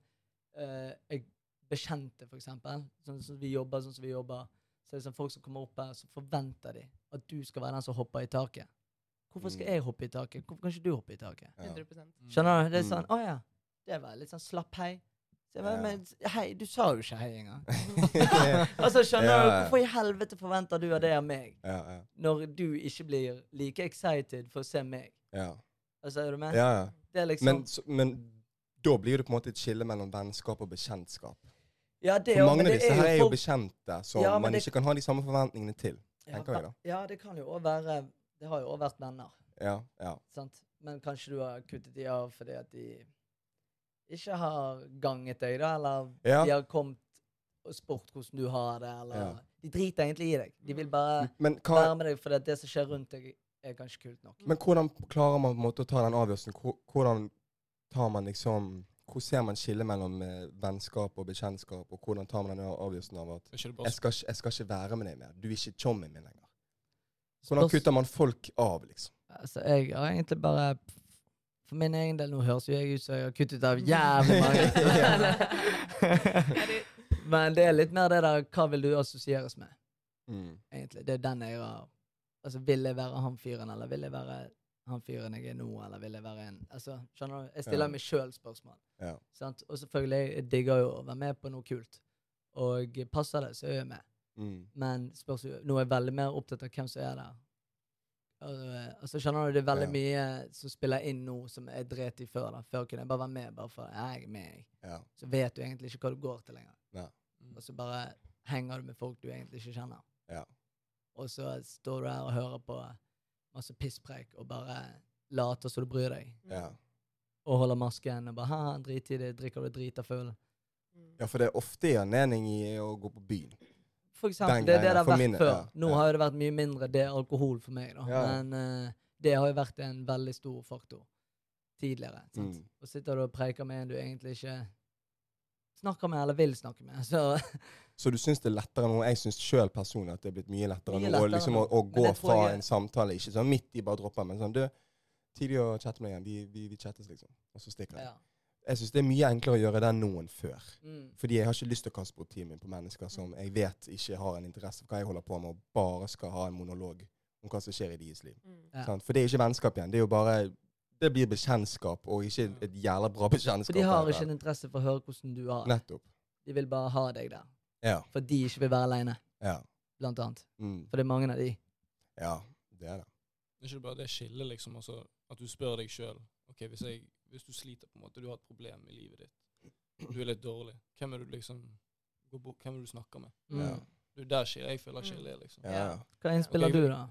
S1: eh, jeg bekjente, for eksempel. Sånn som vi jobber, sånn som vi jobber. Så er det sånn folk som kommer opp her, så forventer de at du skal være den som hopper i taket. Hvorfor skal
S2: Mm.
S1: jeg hoppe i taket? Hvorfor kan ikke du hoppe i taket?
S2: Ja.
S4: 100
S1: Skjønner du? Det er
S2: Mm.
S1: sånn, å ja. Det var litt sånn slapp hei. Så jeg bare,
S2: Ja.
S1: men hei, du sa jo ikke hei engang.
S2: ja,
S1: Altså, skjønner
S2: Ja,
S1: du?
S2: ja.
S1: Hvorfor i helvete forventer du av det av meg,
S2: ja,
S1: når du ikke blir like excited for å se meg?
S2: ja.
S1: Altså, er du med?
S2: ja, ja.
S1: Det er liksom...
S2: Men, så, men da blir det på en måte et skille mellom vennskap og bekjentskap.
S1: ja, det,
S2: For
S1: jo,
S2: mange
S1: men
S2: av
S1: det
S2: disse her er jo
S1: folk-
S2: bekjente som
S1: Ja, men
S2: man
S1: det-
S2: ikke kan ha de samme forventningene til.
S1: Ja,
S2: tenker jeg da.
S1: ka- ja, det kan jo òg være Det har jo òg vært venner,
S2: Ja, ja.
S1: sant? Men kanskje du har kuttet de av fordi at de ikke har ganget deg, da, eller
S2: Ja.
S1: de har kommet og spurt hvordan du har det, eller
S2: Ja. Mm.
S1: De driter egentlig i deg. De vil bare
S2: Men, hva,
S1: være med deg fordi at det som skjer rundt deg, er kanskje kult nok.
S2: men hvordan klarer man på en måte å ta den avgjørelsen? Hvor- Hvordan tar man liksom Hvor ser man skillet mellom eh, vennskap og bekjentskap, og hvordan tar man den avgjørelsen av at
S3: Ikke det
S2: jeg
S3: bare
S2: skal, ikke- 'Jeg skal ikke være med deg mer. Du er ikke chommien min lenger'. Hvordan kutter man folk av, liksom?
S1: Altså, jeg har egentlig bare For min egen del, nå høres jo jeg ut som jeg har kuttet av jævlig mange.
S4: Er det,
S1: Men det er litt mer det der Hva vil du assosieres med?
S2: Mm.
S1: egentlig. Det er den jeg har Altså, vil jeg være han fyren, eller vil jeg være han fyren jeg er nå, eller vil jeg være en Altså, skjønner du? Jeg stiller
S2: Ja.
S1: meg sjøl spørsmål.
S2: Ja.
S1: Sant? Og selvfølgelig, jeg digger jo å være med på noe kult. Og passer det, så er jeg med.
S2: Mm.
S1: Men spørs jo Nå er jeg veldig mer opptatt av hvem som er der. Og, Altså, skjønner du, det er veldig
S2: Ja.
S1: mye som spiller inn nå, som jeg dret i før. da. Før kunne jeg bare være med, bare for "Ja, jeg er med, jeg.
S2: Ja.
S1: Så vet du egentlig ikke hva du går til lenger. Og
S3: sånn
S1: så bare henger du med folk du egentlig ikke kjenner.
S2: Ja.
S1: Og så står du her og hører på masse pisspreik og bare later som du bryr deg.
S2: Ja.
S1: Og holder masken og bare ha, drit i det, drikker du drita full.
S2: ja, for det er ofte en anledning i å gå på byen.
S1: For eksempel,
S2: Den
S1: det er det
S2: greia
S1: det har
S2: for
S1: vært
S2: min-
S1: før.
S2: ja,
S1: Nå
S2: ja.
S1: har jo det vært mye mindre det er alkohol for meg, da.
S2: Ja, ja.
S1: Men eh, det har jo vært en veldig stor faktor tidligere. Sant?
S2: Mm.
S1: Og sitter du og preiker med en du egentlig ikke snakker med eller vil snakke med. Så
S2: Så du syns det er lettere nå? Jeg syns sjøl personlig at det er blitt mye lettere,
S1: Mye
S2: nå å
S1: lettere
S2: liksom, å,
S1: nå.
S2: å
S1: Men
S2: gå
S1: jeg tror
S2: fra
S1: jeg-
S2: en samtale, ikke sånn midt i bare dropper, men sånn du, tidlig å chatte med deg igjen, vi, vi, vi chattes liksom, og så stikker jeg.
S1: ja.
S2: Jeg syns det er mye enklere å gjøre det nå enn før.
S1: Mm.
S2: Fordi jeg har ikke lyst til å kaste bort tiden min på mennesker som jeg vet ikke har en interesse for hva jeg holder på med, og bare skal ha en monolog om hva som skjer i deres liv.
S4: Mm.
S1: Ja.
S2: Sant? For det er ikke vennskap igjen. Det er jo bare Det blir bekjentskap, og ikke et jævla bra bekjentskap.
S1: For de har
S2: der.
S1: ikke en interesse for å høre hvordan du har det.
S2: Nettopp.
S1: De vil bare ha deg der.
S2: Ja.
S1: For de ikke vil være aleine,
S2: Ja.
S1: blant annet.
S2: Mm.
S1: For det er mange av de.
S2: ja. Det er det.
S3: Det er ikke bare det skillet, liksom. Altså, at du spør deg sjøl Ok, hvis, jeg, hvis du sliter, på en måte, du har et problem i livet ditt, du er litt dårlig, hvem er du liksom går bort- Hvem er det du snakker med?
S1: Mm.
S2: Ja.
S3: Det er jo der skillet jeg føler skillet er, liksom.
S2: Ja. ja.
S1: Hva innspiller
S3: Ok.
S1: du, da?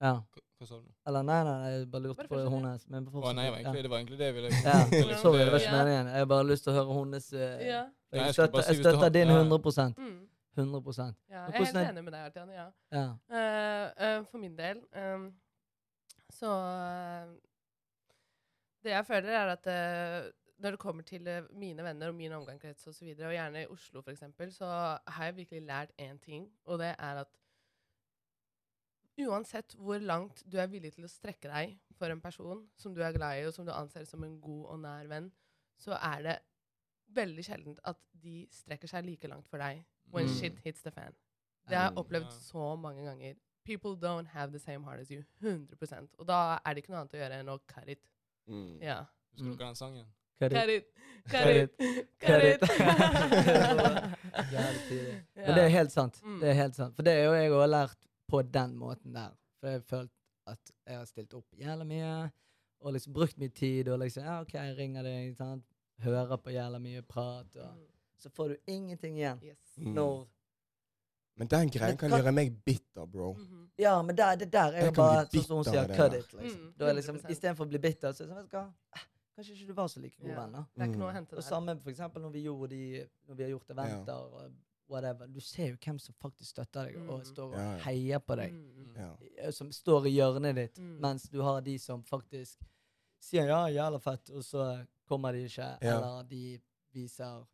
S1: Ja.
S3: Hva, hva sa du nå?
S1: Eller nei, nei, nei, jeg bare
S4: Var
S1: lurte
S4: det
S1: på
S4: første
S1: hennes. Men
S3: Å, nei, det var
S1: ja.
S3: egentlig, det var egentlig det jeg ville
S1: Ja,
S3: det er liksom
S1: Sorry, det var
S3: det-
S1: ikke meningen. Jeg har bare lyst til å høre hennes eh,
S4: ja.
S3: Nei,
S1: Jeg
S3: jeg skulle
S1: støtter,
S3: bare si
S1: jeg
S3: hvis du har-
S1: støtter din
S3: ja.
S1: 100
S4: Mm.
S1: 100
S4: ja.
S1: Men
S4: Jeg er helt
S1: hvordan er-
S4: enig med deg, Artian. Ja.
S1: ja.
S4: Eh, eh, for min del ehm, så eh, Det jeg føler, er at eh, når det kommer til eh, mine venner og min omgangskrets osv., og gjerne i Oslo f.eks., så har jeg virkelig lært én ting, og det er at uansett hvor langt du er villig til å strekke deg for en person som du er glad i, og som du anser som en god og nær venn, så er det veldig sjeldent at de strekker seg like langt for deg when
S1: Mm.
S4: shit hits the fan. Det har jeg
S2: Mm.
S4: opplevd
S3: Ja.
S4: så mange ganger. People don't have the same heart as you. 100 Og da er det ikke noe annet å gjøre enn å cut it.
S2: Mm.
S4: Ja.
S3: Husker
S1: Mm.
S3: dere den sangen?
S1: Hva er det?
S4: Cut it, cut
S1: Cut
S4: it, cut it.
S1: Jævlig tidlig.
S4: Ja.
S1: Men det er helt sant.
S4: Mm.
S1: Det er helt sant. For det er jo jeg har lært på den måten der. For jeg har følt at jeg har stilt opp jævla mye, og liksom brukt mye tid, og liksom ja, OK, jeg ringer deg, sant? hører på jævla mye prat, og
S4: Mm.
S1: så får du ingenting igjen
S4: Yes.
S2: Mm.
S1: når
S2: Men den greien
S1: Men
S2: kan
S1: hva- Mm.
S2: gjøre meg bitter, bro.
S4: Mhm.
S1: Ja, men der, det der er
S2: Jeg
S1: jo
S2: kan
S1: bare
S2: bli
S1: sånn som hun
S2: bitter
S1: sier,
S2: av det
S1: cut
S2: der.
S1: it, liksom.
S4: Mm,
S1: Da er liksom,
S4: 100%.
S1: Istedenfor å bli bitter, så er det sånn, vet du hva, Eh, kanskje ikke du var så like god
S4: Ja.
S1: venn, da.
S4: Det er ikke
S2: Mm.
S4: noe å
S1: Og
S4: hente der.
S1: samme for eksempel når vi gjorde de, når vi har gjort eventer og whatever. Du ser jo hvem som faktisk støtter deg og
S4: Mm.
S1: står
S2: Ja, ja.
S1: og heier på deg.
S4: Mm.
S2: Ja.
S1: eh, Som står i hjørnet ditt,
S4: Mm.
S1: mens du har de som faktisk sier ja, jævla fett, og så kommer de ikke,
S2: Ja.
S1: eller de viser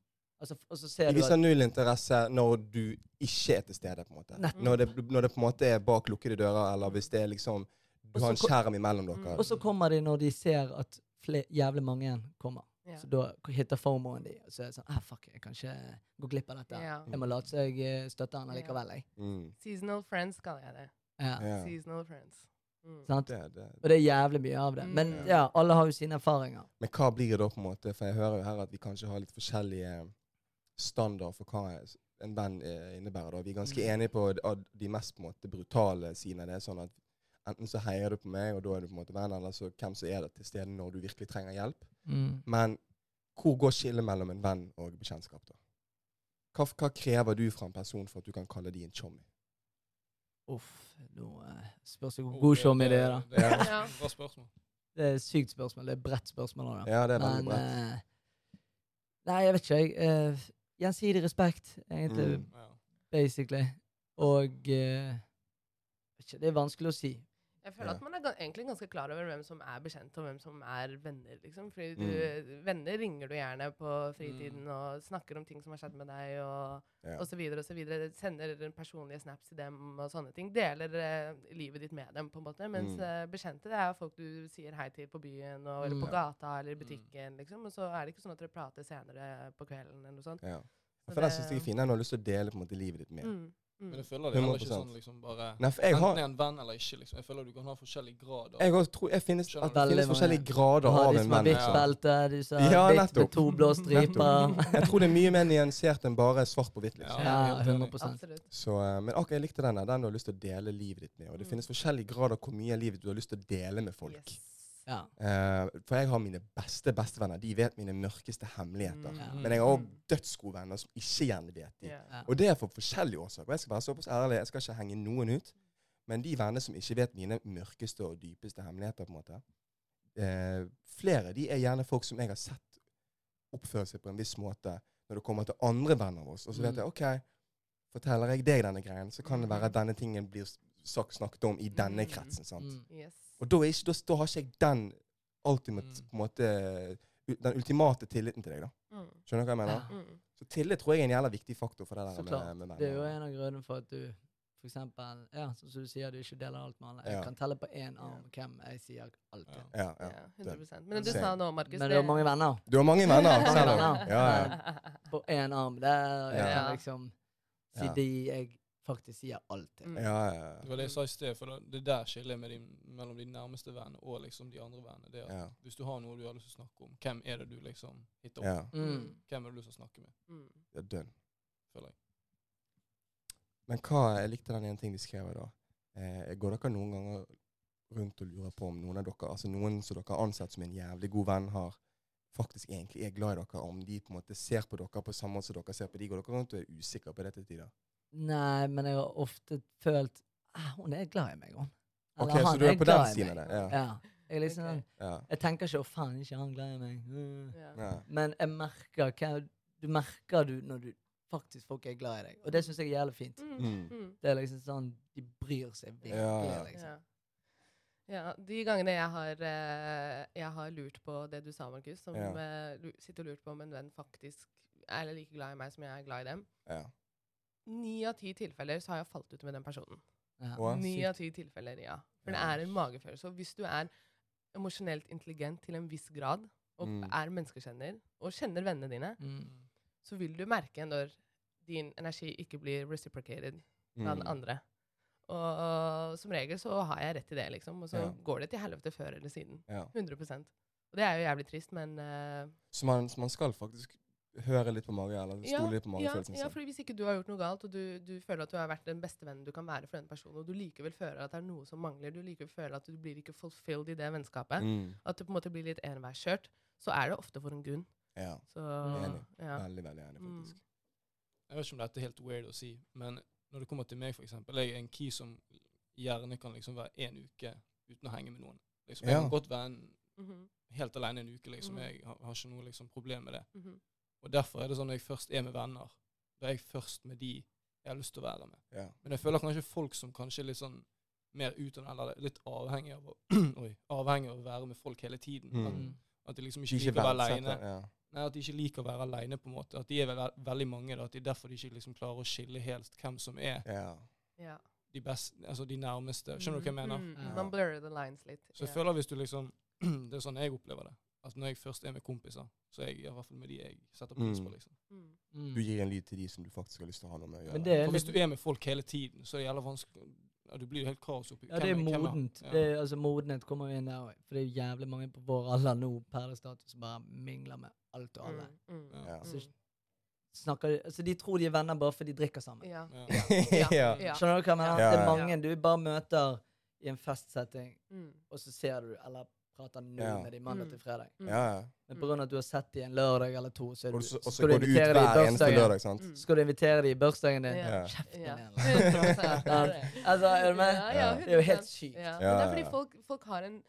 S1: Altså, f- og så ser
S2: De
S1: du
S2: viser
S1: at
S2: null interesse når du ikke er til stede. på en måte.
S1: Nettopp.
S2: Når det, når det på en måte er bak lukkede dører, eller hvis det er liksom
S1: Og
S2: Du
S1: så
S2: har en
S1: ko- Mm.
S2: skjerm imellom dere.
S1: Og så kommer de når de ser at fle, jævlig mange igjen kommer.
S4: Ja.
S1: Så da k- hitter fomoen de, og så er det sånn ah, Fuck, jeg kan ikke gå glipp av dette.
S4: Ja.
S1: Jeg må late som jeg eh, støtter han allikevel, jeg.
S2: Mm.
S4: Seasonal friends kaller jeg det.
S1: Ja,
S2: Ja.
S4: Seasonal friends. Mm.
S1: sant?
S2: Det, det.
S1: Og det er jævlig mye av det.
S4: Mm.
S1: Men
S2: Ja.
S1: ja, alle har jo sine erfaringer.
S2: Men hva blir det da, på en måte? For jeg hører jo her at vi kanskje har litt forskjellige eh, standard for hva en venn eh, innebærer. da. Vi er ganske
S1: Mm.
S2: enige på d- av de mest på en måte, brutale sidene. Det er sånn at Enten så heier du på meg, og da er du på en måte venn, eller så hvem som er der til stede når du virkelig trenger hjelp. Men hvor går skillet mellom en venn og bekjentskap, da? Hva, hva krever du fra en person for at du kan kalle de en chommy?
S1: Uff, nå eh, spørs det hvor
S3: Oh,
S1: god som i det, er, da.
S3: Det er et
S4: Ja.
S3: bra spørsmål.
S1: Det er et sykt spørsmål. Det er et bredt spørsmål. Da.
S2: Ja, det er veldig
S1: Men
S2: bredt.
S1: eh, Nei, jeg vet ikke, jeg. Eh, gjensidig respekt, egentlig,
S2: Mm.
S3: Ja.
S1: basically. Og eh, vet ikke, Det er vanskelig å si.
S4: Jeg føler
S2: Ja.
S4: at man er ga egentlig ganske klar over hvem som er bekjent, og hvem som er venner, liksom. Fordi du,
S2: Mm.
S4: venner ringer du gjerne på fritiden og snakker om ting som har skjedd med deg, og,
S2: Ja.
S4: og så videre og så videre. Sender personlige snaps til dem og sånne ting. Deler eh, livet ditt med dem, på en måte. Mens
S2: Mm.
S4: eh, bekjente, det er folk du sier hei til på byen, og, eller
S1: Mm.
S4: på gata, eller i butikken, liksom. Og så er det ikke sånn at dere prater senere på kvelden, eller noe sånt.
S2: Ja.
S4: Så
S2: For den syns jeg er fin. Den har lyst til å dele på en måte livet ditt med.
S4: Mm. Mm.
S3: Men jeg føler det er heller ikke
S2: 100%.
S3: sånn liksom bare
S2: Nei, for jeg
S3: Enten
S2: har
S3: er en venn eller ikke, liksom. Jeg føler du kan ha forskjellig grad av
S2: jeg også tror jeg finnes, at det
S1: Veldig
S2: finnes
S1: mange.
S2: forskjellige
S1: Du
S2: grader
S1: har
S2: av
S1: de
S2: en
S1: som har
S2: venn.
S3: bit- Ja.
S1: bitch-belte, de som har
S2: Ja,
S1: hvitt
S2: nettopp.
S1: med to blå striper.
S2: Jeg tror det er mye mer nyansert enn bare svart på hvitt. liksom.
S1: Ja,
S3: helt
S1: 100
S3: enig.
S4: Absolutt.
S2: Så, eh, men akkurat jeg likte den der. Den du har lyst til å dele livet ditt med. Og det
S4: Mm.
S2: finnes forskjellige grader hvor mye av livet du har lyst til å dele med folk.
S4: Yes.
S1: Ja.
S2: Eh, for jeg har mine beste bestevenner. De vet mine mørkeste hemmeligheter.
S1: Ja.
S2: Men jeg har òg
S4: Mm.
S2: dødsgode venner som ikke gjerne vet de.
S4: Ja.
S1: Ja.
S2: Og det er for forskjellige årsaker. Jeg skal være såpass ærlig, jeg skal ikke henge noen ut. Men de vennene som ikke vet mine mørkeste og dypeste hemmeligheter, på en måte, eh, flere de er gjerne folk som jeg har sett oppføre seg på en viss måte når det kommer til andre venner av oss. Og så vet
S1: Mm.
S2: jeg OK, forteller jeg deg denne greien, så kan det være at denne tingen blir s- sagt, snakket om i denne
S4: Mm.
S2: kretsen. sant?
S1: Mm.
S4: Yes.
S2: Og da, er ikke, da, da har ikke jeg den ultimate,
S3: Mm.
S2: på en måte, u- den ultimate tilliten til deg, da.
S4: Mm.
S2: Skjønner du hva jeg
S1: Ja.
S2: mener?
S4: Mm.
S2: Så tillit tror jeg er en jævla viktig faktor for det
S1: Så
S2: der
S1: klart.
S2: med, med venner.
S1: Det er jo en av grunnene for at du for eksempel, ja, sånn som du sier, du ikke deler alt med alle. Jeg
S2: Ja.
S1: kan telle på én arm hvem jeg sier alt til.
S3: Ja.
S2: Ja, ja.
S4: Ja, 100 Men
S1: Men
S4: du
S2: se-
S4: sa nå, Markus
S1: Men det er jo mange venner.
S2: Du har mange venner,
S1: Mange
S2: selv om.
S1: venner.
S2: Ja, ja.
S1: på én arm der, og jeg
S2: Ja.
S1: kan liksom si
S2: Ja.
S1: de jeg faktisk sier alt til.
S4: Mm.
S2: ja, ja,
S3: Det var det jeg sa i sted, for det- det der skillet med de, mellom de nærmeste vennene og liksom de andre vennene. Det er at
S2: ja,
S3: Hvis du har noe du har lyst til å snakke om, hvem er det du liksom hitter opp?
S2: ja.
S1: Mm.
S3: Hvem er det du skal snakke med?
S4: Mm.
S2: ja dønn.
S3: føler jeg.
S2: Men hva, jeg likte den ene ting de skrev her da. Eh, går dere noen ganger rundt og lurer på om noen av dere, altså noen som dere har ansett som en jævlig god venn har, faktisk egentlig er glad i dere, om de på en måte ser på dere på samme måte som dere ser på de, går dere rundt og er usikre på dette tider?
S1: Nei, men jeg har ofte følt «Ah, Hun er glad i meg, hun.
S2: Ok, så du er på den
S1: glad i
S2: siden av
S1: meg.
S2: det. Ja,
S1: Ja. Jeg, er liksom,
S4: Ok.
S2: ja,
S1: jeg tenker ikke 'å faen, ikke han glad i meg'. Mm.
S4: Ja.
S2: ja.
S1: Men jeg merker hva Du merker du når du faktisk folk er glad i deg. Og det syns jeg er jævlig fint.
S4: Mm.
S2: Mm.
S4: Mm.
S1: Det er liksom sånn De bryr seg virkelig.
S2: Ja.
S1: Liksom.
S4: Ja. Ja, De gangene jeg har, eh, jeg har lurt på det du sa, Markus, som
S2: Ja.
S4: eh, lu- sitter og lurt på om en venn faktisk er like glad i meg som jeg er glad i dem
S2: ja.
S4: Ni av ti tilfeller så har jeg falt ut med den personen.
S1: Ja.
S2: Wow.
S4: Ni
S2: sykt.
S4: av ti tilfeller, ja. For det
S2: Ja.
S4: er en magefølelse. Og hvis du er emosjonelt intelligent til en viss grad, og
S2: Mm.
S4: er menneskekjenner, og kjenner vennene dine,
S1: Mm.
S4: så vil du merke når din energi ikke blir reciprocated fra den
S2: Mm.
S4: andre. Og, og som regel så har jeg rett til det, liksom. Og så
S2: Ja.
S4: går det til helvete før eller siden.
S2: Ja.
S4: 100 Og det er jo jævlig trist, men eh,
S2: Så man, så man skal faktisk høre litt på mage, eller stole litt på
S4: ja,
S2: magefølelsen
S4: ja,
S2: sin.
S4: fordi hvis ikke du har gjort noe galt, og du, du føler at du har vært den beste vennen du kan være for den personen, og du likevel føler at det er noe som mangler, du likevel føler at du blir ikke fulfilled i det vennskapet,
S2: Mm.
S4: at det på en måte blir litt enveiskjørt, så er det ofte for en grunn.
S2: Ja.
S4: Så,
S2: Enig.
S4: ja.
S2: Veldig, veldig enig,
S4: Mm.
S2: faktisk.
S3: Jeg vet ikke om dette er helt weird å si, men når det kommer til meg, for eksempel, jeg er en key som gjerne kan liksom være en uke uten å henge med noen. Liksom, jeg
S2: Ja.
S3: kan godt være en,
S4: Mhm,
S3: helt alene en uke, liksom.
S1: Mm.
S4: Mhm.
S3: Jeg har, har ikke noe liksom, problem med det.
S4: mhm.
S3: Og derfor er det sånn når jeg først er med venner, da er jeg først med de jeg har lyst til å være med.
S2: Ja.
S3: Men jeg føler kanskje folk som kanskje er litt sånn mer utdannet, eller litt avhengig av å, oi, avhengig av å være med folk hele tiden.
S2: Mm.
S3: At, At de liksom
S2: Ikke
S3: ikke liker å være
S2: verdsetter,
S3: aleine.
S2: ja.
S3: Nei, at de ikke liker å være aleine, på en måte. At de er ve veldig mange. da, at de Derfor de ikke liksom klarer å skille helt hvem som er
S2: Ja.
S4: Ja.
S3: de best, altså de nærmeste. Skjønner du hva jeg mener?
S4: Mm,
S1: Ja.
S4: Man blurrer the lines litt.
S3: Så jeg
S4: ja.
S3: føler hvis du liksom Det er sånn jeg opplever det. At når jeg først er med kompiser, så er jeg i hvert fall med de jeg setter pris
S2: Mm.
S3: på. liksom.
S4: Mm.
S1: Mm.
S2: Du gir en lyd til de som du faktisk har lyst til å ha noe med å gjøre.
S1: Men det er
S3: For hvis
S1: litt
S3: du er med folk hele tiden, så er det jævla vanskelig ja, Du blir jo helt kaos oppi
S1: Ja, det er
S3: hvem hvem
S1: modent.
S3: Ja.
S1: Det er, altså, modenhet kommer jo inn der òg. For det er jo jævlig mange på vår alder nå per dags dato som bare mingler med alt og alle.
S4: Mm, mm,
S2: Ja.
S1: Altså, Snakker, de- altså, de tror de er venner bare fordi de drikker sammen.
S4: Ja.
S3: Ja.
S4: Ja.
S2: ja.
S4: Ja.
S1: Skjønner du hva jeg mener?
S2: Ja,
S1: Det
S2: ja,
S1: er
S2: ja.
S1: mange du bare møter i en festsetting,
S4: Mm,
S1: og så ser du eller prater null
S2: Ja.
S1: med dem mandag
S4: Mm.
S1: til fredag.
S4: mm,
S2: ja, ja.
S1: Men
S4: Mm.
S1: pga. at du har sett dem en lørdag eller to, så, er
S2: Og
S1: du,
S2: så, og så
S1: skal du
S2: går du ut
S1: invitere dem i
S2: hver eneste
S1: bursdagen.
S2: lørdag, sant?
S4: mm.
S1: Skal du invitere dem i bursdagen din?
S4: Ja.
S2: Ja.
S1: Kjeften
S4: Ja.
S1: din, eller?
S4: 100% er det.
S1: Altså, er du med?
S4: Ja,
S2: Ja.
S4: ja,
S1: Det er jo
S4: 100%.
S1: helt sykt.
S4: Ja.
S2: Ja,
S4: Men det er
S2: ja, ja.
S4: fordi folk, folk har en,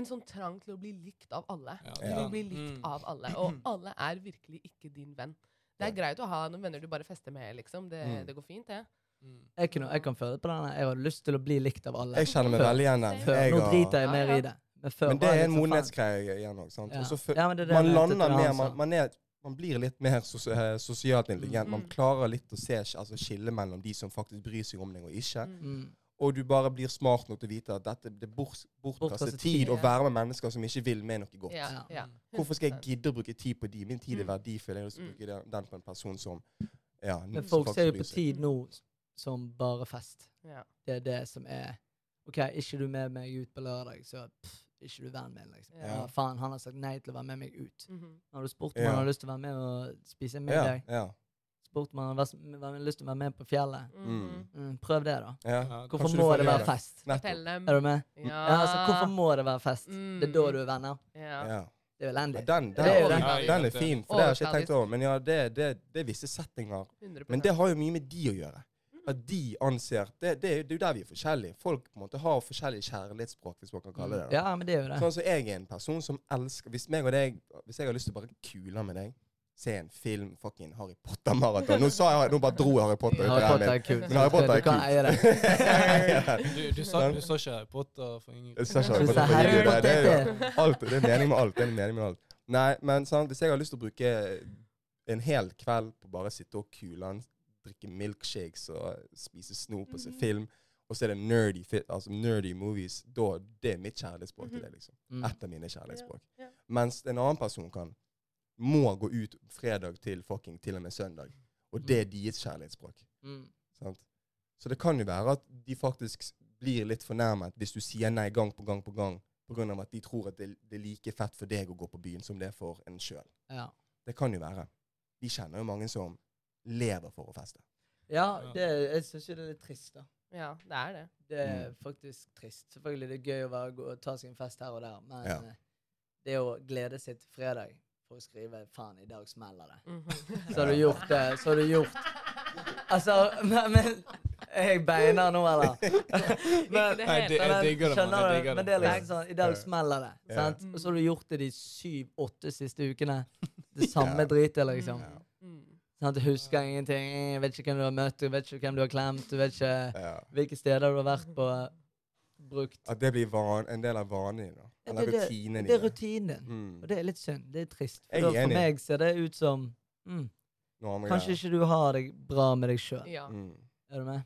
S4: en sånn trang til å bli likt av alle.
S3: Ja,
S4: Du vil
S2: Ja.
S4: bli likt
S3: Mm.
S4: av alle, og alle er virkelig ikke din venn. Det er greit å ha noen venner du bare fester med, liksom. Det,
S2: Mm.
S4: det går fint, det.
S3: Mm.
S1: Jeg, kunne, jeg kan føle på den her. Jeg har lyst til å bli likt av alle.
S2: Jeg kjenner meg
S1: Før-
S2: veldig igjen der.
S1: Før.
S2: Jeg
S1: Nå
S2: har-
S1: driter jeg
S4: Ja,
S1: mer
S4: ja.
S1: i det. Men, før
S2: Men det
S1: var
S2: er
S1: jeg
S2: en
S1: liksom, faen.
S2: modenhetsgreie igjen òg. sant?
S1: Ja.
S2: Og så fø-
S1: Ja, men det er det
S2: Man
S1: jeg mente
S2: lander
S1: til
S2: mer,
S1: han
S2: man,
S1: sa.
S2: man, er, man blir litt mer sos eh, sosialt intelligent. Man
S4: Mm.
S2: klarer litt å se, altså, skille mellom de som faktisk bryr seg om deg, og ikke.
S4: Mm.
S1: Mm.
S2: Og du bare blir smart nok til å vite at dette det er bort, bortkastet
S1: Bortkastet tid,
S2: tid å
S4: ja.
S2: være med mennesker som ikke vil meg noe godt.
S4: Ja,
S1: Ja.
S4: ja.
S2: Hvorfor skal jeg gidde å bruke tid på de? Min tid er
S4: Mm.
S2: verdifull. Jeg har lyst til å
S4: Mm.
S2: bruke den- den på en person som ja,
S1: Men
S2: som
S1: folk
S2: faktisk
S1: ser jo
S2: bryr
S1: på
S2: seg.
S1: tid nå som bare fest.
S4: Ja.
S1: Det er det som er OK, ikke du med meg ut på lørdag, så pff, ikke du vennen min, liksom.
S4: Ja.
S1: Ja. faen, han har sagt nei til å være med meg ut.
S4: Mhm.
S1: Har du spurt om
S2: Ja.
S1: han har lyst til å være med og spise
S2: Ja,
S1: middag?
S2: ja,
S1: Spurt om han har vært- om han har lyst til å være med på fjellet?
S4: Mhm.
S1: Mm, prøv det, da.
S2: ja.
S3: Ja,
S1: Hvorfor
S2: Kanskje
S1: må
S2: du får
S1: det
S2: gjøre
S1: være
S2: det.
S1: fest?
S2: Nettopp.
S4: Fortell dem.
S1: Er du med?
S4: Ja.
S1: Ja, altså, hvorfor må det være fest? Det er da
S4: Ah. Mm.
S1: du er venner.
S4: ja.
S2: Ja.
S1: Det er jo
S2: Ja,
S1: elendig.
S2: Den, den,
S1: Det er jo
S2: den,
S1: det.
S2: den er fin, for det har jeg ikke
S4: Overfladisk.
S2: tenkt over. Men ja, det, det, det er visse settinger
S4: 100%.
S2: Men det har jo mye med de å gjøre.
S4: Mm.
S2: At de anser Det, det, er jo- det er jo der vi er forskjellige. Folk på en måte har forskjellige kjærlighetsspråk, hvis man kan kalle det det. da.
S1: Mm. Ja, men det er jo det.
S2: Sånn som jeg er en person som elsker Hvis meg og deg Hvis jeg har lyst til å bare kule med deg, se en film, fucking Harry Potter-maraton Nå sa jeg Nå bare dro jeg Harry Potter ut
S1: Harry
S2: av
S1: Potter
S2: hjernen
S1: er kult.
S2: Men Harry Potter er
S1: Du kan
S2: kult.
S1: eie det.
S2: min.
S3: Du, du, sa, du sa ikke Harry Potter for ingen
S2: Jeg sa ikke
S1: Du
S2: Harry
S1: sa
S2: Potter på
S1: Harry
S2: video. Det er
S1: Potter.
S2: jo alt. Det er mening med alt. Det er mening med alt. Nei, men sant, hvis jeg har lyst til å bruke en hel kveld på bare å sitte og kule han, drikke milkshakes og spise snop og se
S4: Mhm.
S2: film, og så er det nerdy, fi- altså nerdy movies, da det er mitt kjærlighetsspråk til det, liksom.
S1: Mm.
S2: Et av mine kjærlighetsspråk.
S4: Mhm. Ja, ja.
S2: Mens en annen person kan må gå ut fredag til fucking til og med søndag. Og det
S4: Mhm.
S2: er deres kjærlighetsspråk.
S1: Mm.
S2: Sant? Så det kan jo være at de faktisk s- blir litt fornærmet hvis du sier nei gang på gang på gang pga. at de tror at det, det er like fett for deg å gå på byen som det er for en sjøl.
S1: Ja.
S2: Det kan jo være. Vi kjenner jo mange som lever for å feste.
S1: ja, det, jeg syns jo det er litt trist, da.
S4: Ja, det er det.
S1: Det er
S2: Mm.
S1: faktisk trist. Selvfølgelig det er gøy å være, gå- ta seg en fest her og der, men
S2: Ja.
S1: eh, det å glede seg til fredag for å skrive 'faen, i dag smeller det',
S4: Mhm.
S1: så har du gjort det. Så har du gjort Altså, men, men Jeg beiner nå, eller?
S4: Ikke
S1: Men,
S4: det
S3: Nei, det-
S4: hele
S3: jeg
S1: men,
S3: digger det, mann,
S1: skjønner
S3: jeg
S1: du?
S3: digger
S1: Men
S3: det.
S1: det er liksom sånn I dag
S2: Ja.
S1: smeller det.
S2: Ja.
S1: Sant? Og så har du gjort det de syv-åtte siste ukene. Det samme dritet, liksom.
S2: Ja.
S4: Mm.
S1: Sånn at du husker ingenting. Jeg vet ikke hvem du har møtt, du vet ikke hvem du har klemt, du vet ikke
S2: Ja.
S1: hvilke steder du har vært på. Brukt.
S2: At det blir van, en del av vanen din. da.
S1: Ja,
S2: Eller
S1: det- det-
S2: rutinen
S1: Det er
S2: din.
S1: rutinen din.
S2: Mm.
S1: Og det er litt synd. Det er trist.
S2: Jeg
S1: For, da,
S2: er
S1: for
S2: enig.
S1: meg ser det ut som mm,
S2: Noe andre
S1: Kanskje
S2: greier.
S1: ikke du har det bra med deg sjøl.
S4: Ja.
S2: Mm.
S1: Er du med?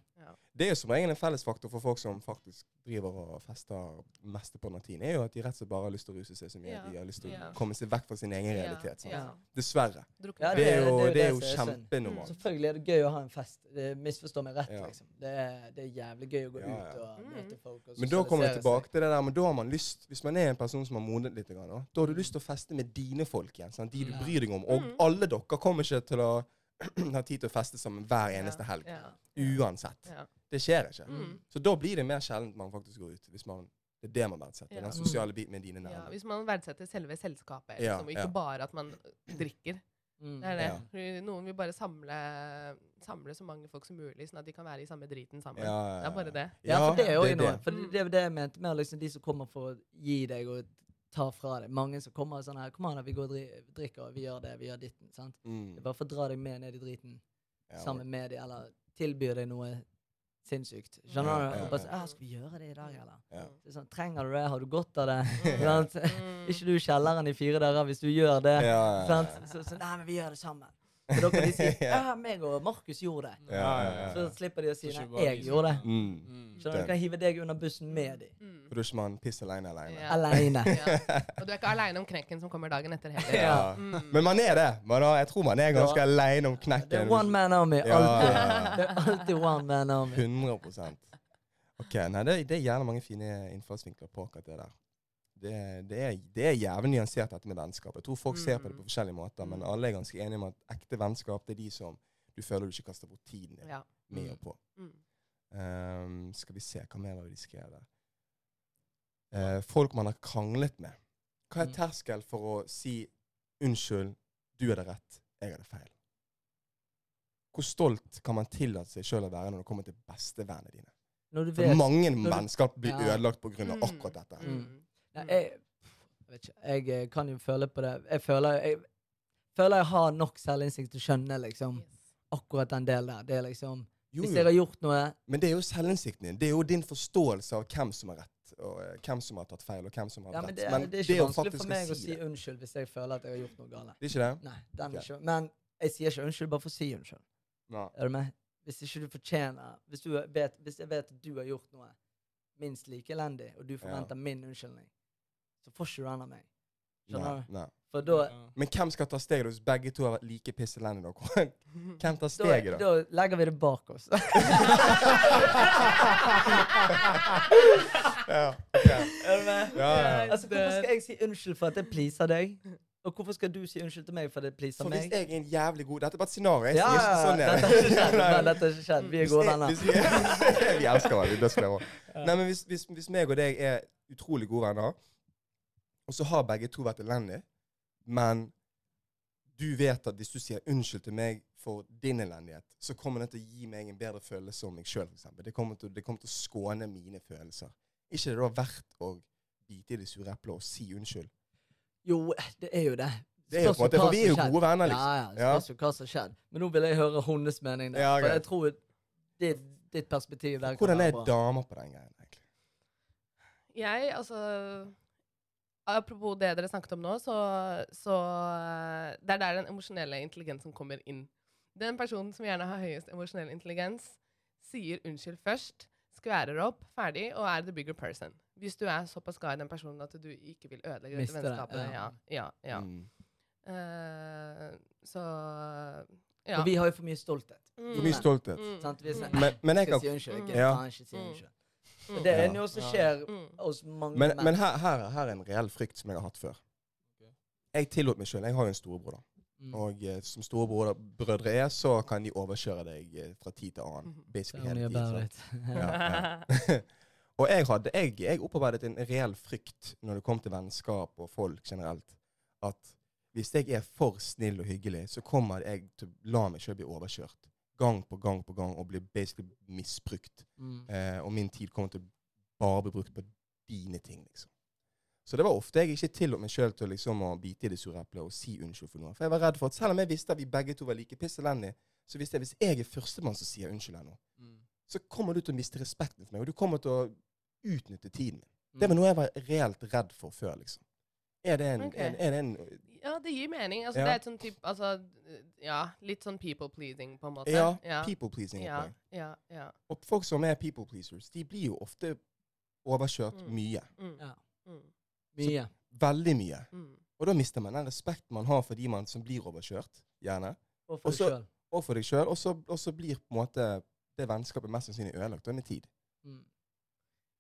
S2: Det er jo som regel en fellesfaktor for folk som faktisk driver og fester mesteparten av tiden, er jo at de rett og slett bare har lyst til å ruse seg så mye.
S4: Ja.
S2: De har lyst til å
S4: Ja.
S2: komme seg vekk fra sin egen
S4: Ja.
S2: realitet. sånn. sant?
S4: Ja.
S2: Dessverre.
S4: Drukne
S1: Ja,
S4: på
S2: Det er jo,
S1: det
S2: det er
S1: er
S2: jo
S1: det som er synd. Mm.
S2: kjempenormalt.
S1: Selvfølgelig er det gøy å ha en fest. Det Misforstå meg rett,
S2: Ja.
S1: liksom. Det er, det er jævlig gøy å gå
S2: Ja, ja.
S1: ut og
S4: Mm.
S1: møte folk. Og
S2: Men da kommer vi
S1: sosialisere
S2: tilbake
S1: seg.
S2: til det der, men da har man lyst, hvis man er en person som har modnet litt, grann, da, da har du lyst til å feste med dine folk igjen. Sant? De du
S1: Ja.
S2: bryr deg om. Og
S4: Mm.
S2: alle dere kommer ikke til å ha tid til å feste sammen hver eneste helg.
S4: Ja.
S2: Uansett.
S4: Ja.
S2: Det skjer ikke.
S4: Mm.
S2: Så da blir det mer sjeldent man faktisk går ut. Hvis man, det er det man verdsetter.
S4: Ja.
S2: Den sosiale biten med dine
S4: Ja,
S2: nærmere.
S4: hvis man verdsetter selve selskapet,
S2: Ja,
S4: liksom, og ikke
S2: ja.
S4: bare at man drikker.
S1: Mm.
S4: Det er det.
S2: Ja.
S4: Fordi Noen vil bare samle, samle så mange folk som mulig, sånn at de kan være i samme driten sammen.
S2: Ja,
S4: Det er bare det.
S1: Ja, for det er jo
S2: det er
S1: noe.
S2: det.
S1: For det- det er jo det jeg mente med liksom, de som kommer for å gi deg og ta fra deg. Mange som kommer sånn her Kom an, da, vi går og dri- drikker, og vi gjør det, vi gjør ditten. Sant?
S2: Mm.
S1: Det er bare for å dra deg med ned i driten
S2: Ja,
S1: sammen med de, eller tilbyr deg noe sinnssykt. Skjønner du?
S2: Ja, ja,
S1: Og bare
S2: ja.
S1: sånn, «Ah, skal vi gjøre det i dag, eller?
S2: Ja.
S1: Det er sånn, trenger du det? Har du godt av det?
S4: Mm.
S1: Sant? Ikke du i kjelleren i fire dager hvis du gjør det.
S2: Ja, ja, ja.
S1: Sant? Så, så, nei, men vi gjør det sammen. For da kan de si
S2: Ja.
S1: ja, meg og Markus gjorde det.
S2: Ja, ja, ja.
S1: Så slipper de å si
S3: Så ikke
S1: nei,
S3: bare
S1: jeg
S3: de som-
S1: gjorde det.
S2: Mm.
S3: Mm.
S1: Skjønner du,
S2: Den.
S1: Kan hive deg under bussen med de.
S4: Mm.
S2: For da er ikke man piss alene alene.
S4: Ja.
S1: Aleine.
S4: Ja. Og du er ikke aleine om knekken som kommer dagen etter heller.
S1: Ja.
S4: Mm.
S2: Men man er det. Man har, jeg tror man er ganske
S1: Ja.
S2: alene om
S1: Det
S2: knekken.
S1: er one man army.
S2: Ja,
S1: Alltid.
S2: ja,
S1: Det er alltid one man army.
S2: 100 Ok, nei, det, det er gjerne mange fine innfallsvinkler på akkurat det der. Det, det, er, det er jævlig nyansert, dette med vennskap. Jeg tror folk ser
S1: Mm.
S2: på det på forskjellige måter, men alle er ganske enige om at ekte vennskap det er de som du føler du ikke kaster bort tiden din
S4: Ja.
S2: med og på.
S4: Mm.
S2: Ehm, skal vi se, hva mer var det de skrev der? Eh, folk man har kranglet med. Hva er
S3: Mm.
S2: terskel for å si 'unnskyld, du hadde rett, jeg hadde feil'? Hvor stolt kan man tillate seg sjøl å være når det kommer til bestevennene dine?
S1: Når du
S2: For
S1: vet
S2: mange
S1: når du-
S2: vennskap blir
S1: Ja.
S2: ødelagt pga.
S4: Mm.
S2: akkurat dette.
S1: Mm. Nei,
S4: Mm.
S1: jeg, jeg vet ikke. Jeg eh, kan jo føle på det. Jeg føler jeg, føler jeg har nok selvinnsikt til å skjønne liksom,
S4: Yes.
S1: akkurat den delen der. Det er liksom
S2: Jo,
S1: Hvis jeg
S2: jo.
S1: har gjort noe
S2: Men det er jo selvinnsikten din. Det er jo din forståelse av hvem som har rett, og eh, hvem som har tatt feil, og hvem som har
S1: ja,
S2: rett.
S1: men det,
S2: Men
S1: det er ikke
S2: å
S1: vanskelig
S2: faktisk
S1: for meg å si
S2: det.
S1: unnskyld hvis jeg føler at jeg har gjort noe galt.
S2: Det er ikke det?
S1: Nei, den
S2: Ok.
S1: er ikke, men jeg sier ikke unnskyld bare for å si unnskyld.
S2: Nei.
S1: Er du med? Hvis ikke du fortjener Hvis, du vet, hvis jeg vet at du har gjort noe minst like elendig, og du forventer min unnskyldning, så får ikke du den av meg.
S2: Nei.
S1: Skjønner du?
S2: Nei.
S1: For da,
S3: Ja.
S2: Men hvem skal ta steget hvis begge to har vært like pisselendige? da? Hvem tar
S1: da,
S2: steget, da?
S1: da legger vi det bak oss.
S2: ja, ok.
S1: Er du med?
S2: ja, ja.
S1: Altså, hvorfor skal jeg si unnskyld for at jeg pleaser deg? Og hvorfor skal du si unnskyld til meg for at jeg pleaser
S2: For hvis
S1: meg?
S2: jeg er en jævlig god Dette er bare et scenario. Jeg
S1: Ja,
S2: sier ikke sånn
S1: dette har ikke skjedd. men Dette har ikke skjedd. Vi er
S2: Hvis
S1: gode
S2: jeg-
S1: venner.
S2: hvis jeg- Vi elsker hverandre. Vi er dødsglade også. Nei, men hvis, hvis, hvis meg og deg er utrolig gode venner, og så har begge to vært elendige, men du vet at hvis du sier unnskyld til meg for din elendighet, så kommer det til å gi meg en bedre følelse om meg sjøl, f.eks. Det, kommer til- det kommer til å skåne mine følelser. Ikke det da verdt å bite i det sure eplet og si unnskyld?
S1: Jo, det er jo det.
S2: Det er jo
S1: Spørs
S2: på en måte,
S1: hva
S2: for vi er jo
S1: som skjedde.
S2: gode venner, liksom.
S1: Ja, ja.
S2: Ja.
S1: Spørs jo hva som har skjedd. Men nå vil jeg høre hennes mening. Der,
S2: Ja,
S1: for
S2: greit.
S1: jeg tror ditt, ditt perspektiv der
S2: Hvordan
S1: kan være
S2: er
S1: bra.
S2: damer på den greien, egentlig?
S4: Jeg, altså Apropos det dere snakket om nå, så, så eh, Det er der den emosjonelle intelligensen kommer inn. Den personen som gjerne har høyest emosjonell intelligens, sier unnskyld først, skværer opp, ferdig, og er the bigger person. Hvis du er såpass glad i den personen at du ikke vil ødelegge dette
S1: Mister det,
S4: vennskapet. Ja,
S1: ja.
S4: ja, ja.
S2: Mm.
S4: Eh, så ja.
S1: For vi har jo for mye stolthet.
S2: For mye stolthet.
S4: Mm,
S1: Sant? Vi er sånn,
S2: Men, men jeg
S1: ikke
S2: kan
S1: si unnskyld. Ikke
S2: Ja.
S1: faen, ikke si
S4: Mm.
S1: unnskyld.
S4: Mm.
S1: Det er
S2: Ja.
S1: noe som
S3: Ja.
S1: skjer
S4: Mm.
S1: hos mange
S2: Men,
S1: menn.
S2: men her, her, her er en reell frykt som jeg har hatt før.
S3: Ok.
S2: Jeg tillot meg sjøl. Jeg har jo en storebror, da.
S1: Mm.
S2: Og eh, som storebrødre er, så kan de overkjøre deg eh, fra tid til annen.
S4: Mhm.
S2: Basically
S1: Tell me
S2: hele
S1: about
S2: tiden.
S1: it.
S2: Ja, og jeg, hadde, jeg, jeg opparbeidet en reell frykt når det kom til vennskap og folk generelt. At hvis jeg er for snill og hyggelig, så kommer jeg til å la meg sjøl bli overkjørt. Gang på gang på gang og bli basically misbrukt.
S1: Mm.
S2: Eh, og min tid kommer til å bare bli brukt på dine ting, liksom. Så det var ofte jeg ikke tillot meg sjøl til liksom, å bite i det sure eplet og si unnskyld for noe. For jeg var redd for at selv om jeg visste at vi begge to var like pisselendige, så visste jeg hvis jeg er førstemann som sier unnskyld her nå,
S3: Mm.
S2: så kommer du til å miste respekten for meg, og du kommer til å utnytte tiden min. Det var noe jeg var reelt redd for før, liksom. Er det en,
S4: Mm. Ok.
S2: en, er det en
S4: Ja, det gir mening. Altså,
S2: Ja.
S4: Det er et sånn typ, altså, ja, litt sånn people pleasing, på en måte.
S2: Ja,
S4: ja.
S2: people pleasing?
S4: ja,
S2: opplegg?
S4: ja, ja.
S2: Og folk som er people pleasers, de blir jo ofte overkjørt
S4: Mm.
S2: mye.
S4: Mm.
S1: Ja.
S4: Mm.
S1: Mye.
S2: Veldig mye.
S4: Mm.
S2: Og da mister man den respekten man har for de man som blir overkjørt, gjerne,
S1: Og for deg
S2: Også-
S1: sjøl.
S2: og for deg sjøl. Og så og så blir på en måte det vennskapet mest sannsynlig ødelagt da, med tid.
S1: Mm.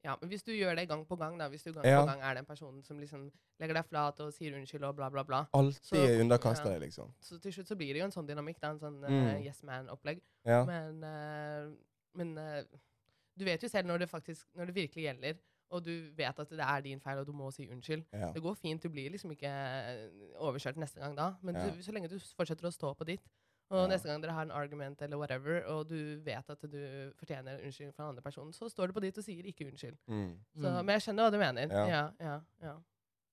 S4: ja, men hvis du gjør det gang på gang, da, hvis du gang
S2: Ja.
S4: på gang er den personen som liksom legger deg flat og sier unnskyld og bla, bla, bla, Så-
S2: Alltid underkaster
S4: ja.
S2: deg, liksom.
S4: så til slutt så blir det jo en sånn dynamikk, da, en sånn eh,
S2: Mm.
S4: yes man-opplegg.
S2: Ja.
S4: Men, eh, men eh, du vet jo selv når det faktisk, når det virkelig gjelder, og du vet at det er din feil, og du må si unnskyld.
S2: Ja.
S4: Det går fint, du blir liksom ikke eh, overkjørt neste gang da, men
S2: Ja.
S4: du, så lenge du s- fortsetter å stå på ditt, og
S2: Ja.
S4: neste gang dere har en argument eller whatever, og du vet at du fortjener en unnskyldning fra den andre personen, så står du på ditt og sier ikke unnskyld.
S2: Mm.
S4: Så,
S1: Mm.
S4: Men jeg skjønner hva du mener.
S2: Ja.
S4: Ja, ja, ja.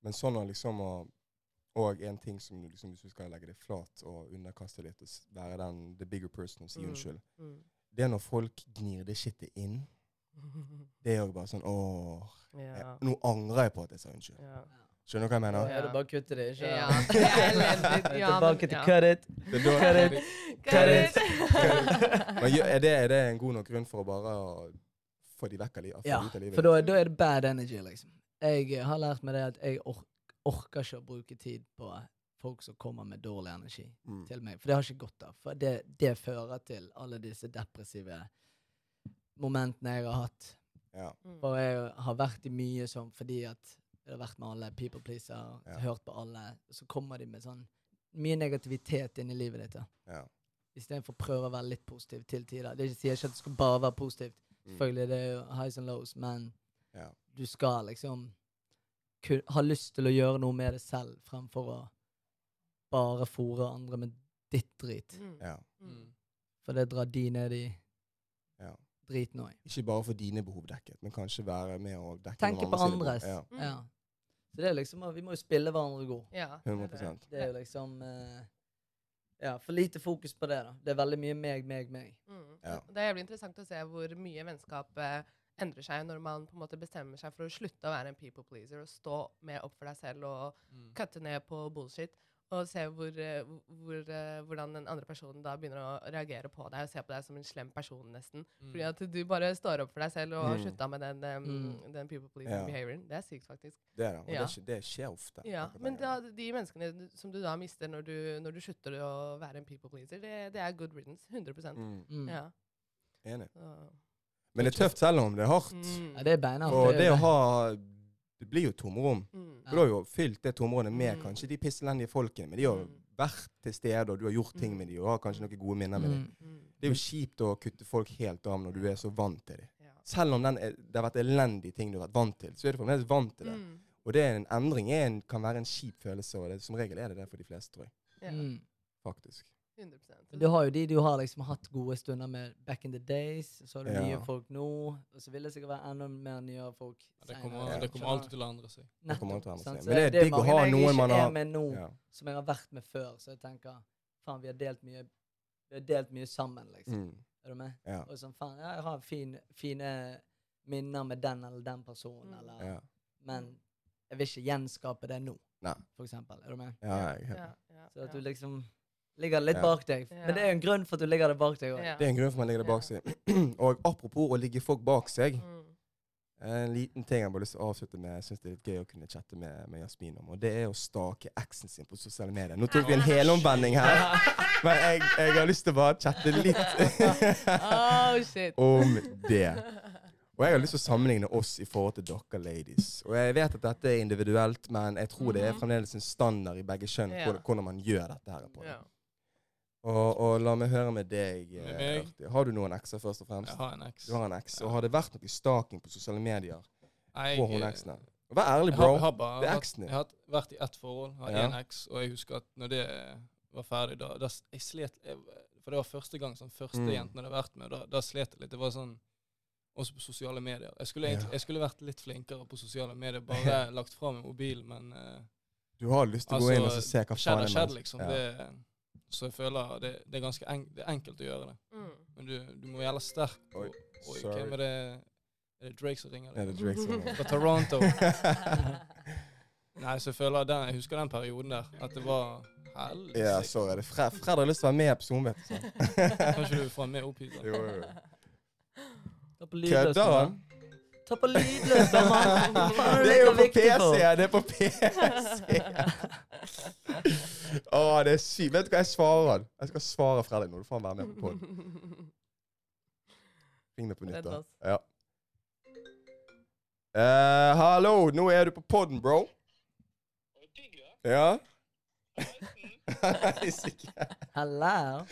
S2: Men sånn å liksom å Og en ting som liksom, hvis du skal legge deg flat og underkaste litt, og s- være den the bigger person og si
S4: Mm.
S2: unnskyld
S4: Mm.
S2: Det er når folk gnir det shitet inn. Det er jo bare sånn åh. jeg-
S4: Ja.
S2: Nå angrer jeg på at jeg sa unnskyld.
S4: ja.
S2: Skjønner du hva jeg
S1: Ja,
S2: mener?
S1: er det bare å kutte det, ikke?
S4: Ja, det er elendig. Ja, men-
S1: Tilbake til
S4: ja.
S1: cut it.
S2: Det er da-
S1: Cut it. Cut it.
S2: Men gjør- er det, er det en god nok grunn for å bare å få de vekk av livet?
S1: Ja,
S2: ut av livet?
S1: for da, da er det bad energy, liksom. Jeg eh, har lært meg det at jeg ork orker ikke å bruke tid på folk som kommer med dårlig energi
S2: Mm.
S1: til meg. For det har jeg ikke godt av. For det, det fører til alle disse depressive momentene jeg har hatt.
S2: Ja.
S4: Mm.
S1: Og jeg har vært i mye sånn fordi at jeg har vært med alle, people pleaser,
S2: Ja.
S1: hørt på alle. Så kommer de med sånn mye negativitet inn i livet ditt. da.
S2: Ja.
S1: Istedenfor å prøve å være litt positiv til tider. Det sier ikke at det skal bare være positivt. Selvfølgelig det er jo highs and lows, men
S2: Mm. Ja.
S1: du skal liksom ku- ha lyst til å gjøre noe med det selv, fremfor å bare fòre andre med ditt drit.
S4: Mm.
S2: Ja.
S4: Mm.
S1: For det drar de ned i
S2: Ja.
S1: driten òg.
S2: Ikke bare for dine behov dekket, men kanskje være med å dekke
S1: Tenke
S2: noen
S1: på
S2: sine
S1: andres.
S2: behov.
S4: Mm.
S1: Ja. Så det er liksom, Vi må jo spille hverandre god.
S4: Ja,
S2: Ja,
S4: det er
S2: 100
S4: det.
S1: Det er jo liksom eh, Ja, for lite fokus på det, da. Det er veldig mye meg, meg, meg.
S4: Mm.
S2: Ja.
S4: Det er jævlig interessant å se hvor mye vennskap eh, endrer seg når man på en måte bestemmer seg for å slutte å være en people pleaser og stå mer opp for deg selv og
S3: Mm.
S4: kutte ned på bullshit. Og se hvor, eh, hvor, eh, hvordan den andre personen da begynner å reagere på deg og se på deg som en slem person, nesten. Fordi at du bare står opp for deg selv og har
S2: Mm.
S4: slutta med den, eh,
S1: Mm.
S4: den people pleasing
S2: Ja.
S4: behavioren. Det er sykt, faktisk.
S2: Det er det, og
S4: Ja.
S2: det, skje- det skjer ofte.
S4: Ja,
S2: akkurat
S4: Men
S2: den
S4: da,
S2: gangen.
S4: de menneskene du- som du da mister når du, når du slutter å være en people pleaser, det, det er good riddance. 100
S2: mm.
S1: Mm. Ja.
S4: Ja.
S2: Enig.
S4: så-
S2: Men det er tøft selv om det er hardt.
S4: Mm.
S1: det er beinhardt.
S2: Og det
S1: jo
S2: å
S1: det.
S2: ha Det blir jo tomrom.
S4: Mm.
S2: Du har jo fylt det tomrommet med
S4: Mm.
S2: kanskje de pisselendige folkene, men de har jo
S4: Mm.
S2: vært til stede, og du har gjort ting med dem, og har kanskje noen gode minner med dem.
S1: Mm.
S4: Mm.
S2: Det er jo kjipt å kutte folk helt av når du er så vant til dem.
S4: Ja.
S2: Selv om den er, det har vært elendige ting du har vært vant til, så er du fremdeles vant til det.
S4: Mm.
S2: Og det er en endring er en, kan være en kjip følelse, og det, som regel er det det for de fleste, tror jeg.
S4: Ja,
S1: Mm.
S4: 100
S1: Men Du har jo de du har liksom hatt gode stunder med back in the days, så har du
S2: Ja.
S1: nye folk nå, og så vil det sikkert være enda mer nyere folk
S3: Ja, Det
S1: senere.
S3: kommer,
S2: Ja.
S3: det kommer alltid til å endre seg.
S1: Nettopp,
S2: kommer alt til å endre
S1: sant?
S2: seg.
S1: Så
S2: Men det er digg å
S1: mange
S2: ha
S1: jeg
S2: noen
S1: ikke
S2: man
S1: er
S2: har-
S1: med
S4: Oh.
S1: nå,
S2: Ja.
S1: som jeg har vært med før, så jeg tenker faen, vi har delt mye, vi har delt mye sammen, liksom.
S2: Mm.
S1: Er du med?
S2: Ja.
S1: Og sånn, faen, ja, jeg har fin, fine minner med den eller den personen,
S4: Mm.
S1: eller
S2: Ja.
S1: Men jeg vil ikke gjenskape det nå,
S2: Nei.
S1: for eksempel. Er du med?
S2: Ja, jeg,
S4: ja, ja,
S1: Så at
S4: ja.
S1: du liksom ligger litt
S2: Ja.
S1: bak deg.
S4: Ja.
S1: Men det er jo en grunn for at du ligger det bak deg òg.
S4: Ja.
S2: Det er en grunn for at man ligger det bak seg. og apropos å ligge folk bak seg,
S4: Mm.
S2: en liten ting jeg bare lyst til å avslutte med, jeg synes det er litt gøy å kunne chatte med, med Jasmin om, og det er å stake eksen sin på sosiale medier. Nå tok vi en helomvending her, men jeg, jeg har lyst til å bare chatte litt
S4: Oh, shit.
S2: om det. Og jeg har lyst til å sammenligne oss i forhold til dere ladies. Og jeg vet at dette er individuelt, men jeg tror det er
S4: Mhm.
S2: fremdeles en standard i begge kjønn
S4: Ja.
S2: hvordan- hvordan man gjør dette her. på det.
S4: Ja.
S2: Og, og la meg høre med deg. eh,
S3: Med meg?
S2: Arti. Har du noen ekser, først og fremst?
S3: Jeg har en eks.
S2: Du har en eks.
S3: Ja.
S2: Og har det vært noe staking på sosiale medier
S3: Nei,
S2: på hun
S3: jeg- eh,
S2: eksen? her? Vær ærlig,
S3: Jeg har,
S2: bro.
S3: jeg har bare
S2: Det er
S3: vært,
S2: eksen din.
S3: jeg har hatt- vært i ett forhold, har
S2: Ja.
S3: én eks, og jeg husker at når det eh, var ferdig, da, da s- jeg slet jeg, For det var første gang, sånn, første
S2: Mm.
S3: jenten jeg hadde vært med, da, da slet jeg litt. Det var sånn Også på sosiale medier. Jeg skulle, egentlig,
S2: Ja.
S3: jeg skulle vært litt flinkere på sosiale medier, bare lagt fra meg mobilen, men eh,
S2: Du har lyst til å gå
S3: Altså,
S2: inn og så se hva
S3: skjedd
S2: faen
S3: har
S2: det
S3: skjedd,
S2: er.
S3: liksom.
S2: Ja.
S3: Det, så jeg føler det, det er ganske enk, det er enkelt å gjøre det.
S4: Mm.
S3: Men du, du må gjelde sterk.
S2: Oi,
S3: Og, oi,
S2: sorry.
S3: hvem er det? Er det Drake som ringer?
S2: Ja, det er Drake som
S3: Fra Toronto.
S2: er-
S3: Nei, så jeg føler den, jeg husker den perioden der, at det var helsike.
S2: Ja, sorry. det er Fred, Fred har lyst til å være med i episoden, vet du. sant?
S3: Kan ikke du få den med opp hit? da?
S2: Jo, jo, jo.
S1: Ta på lydløs.
S2: Kødder
S1: mann.
S2: han?
S1: Ta på lydløs, da, mann! Faen,
S2: Det er jo på
S1: viktig
S2: PC!
S1: for.
S2: ja, Det er på PC! Å, det er sykt. Vet du hva jeg svarer han? Jeg skal svare Fredrik nå. Du får han være med på podden. Ring meg på nytt,
S4: Redd
S2: da.
S4: oss.
S2: Ja. Eh, hallo, nå er du på podden, bro. Ja? Nei, sikkert.
S1: Hello.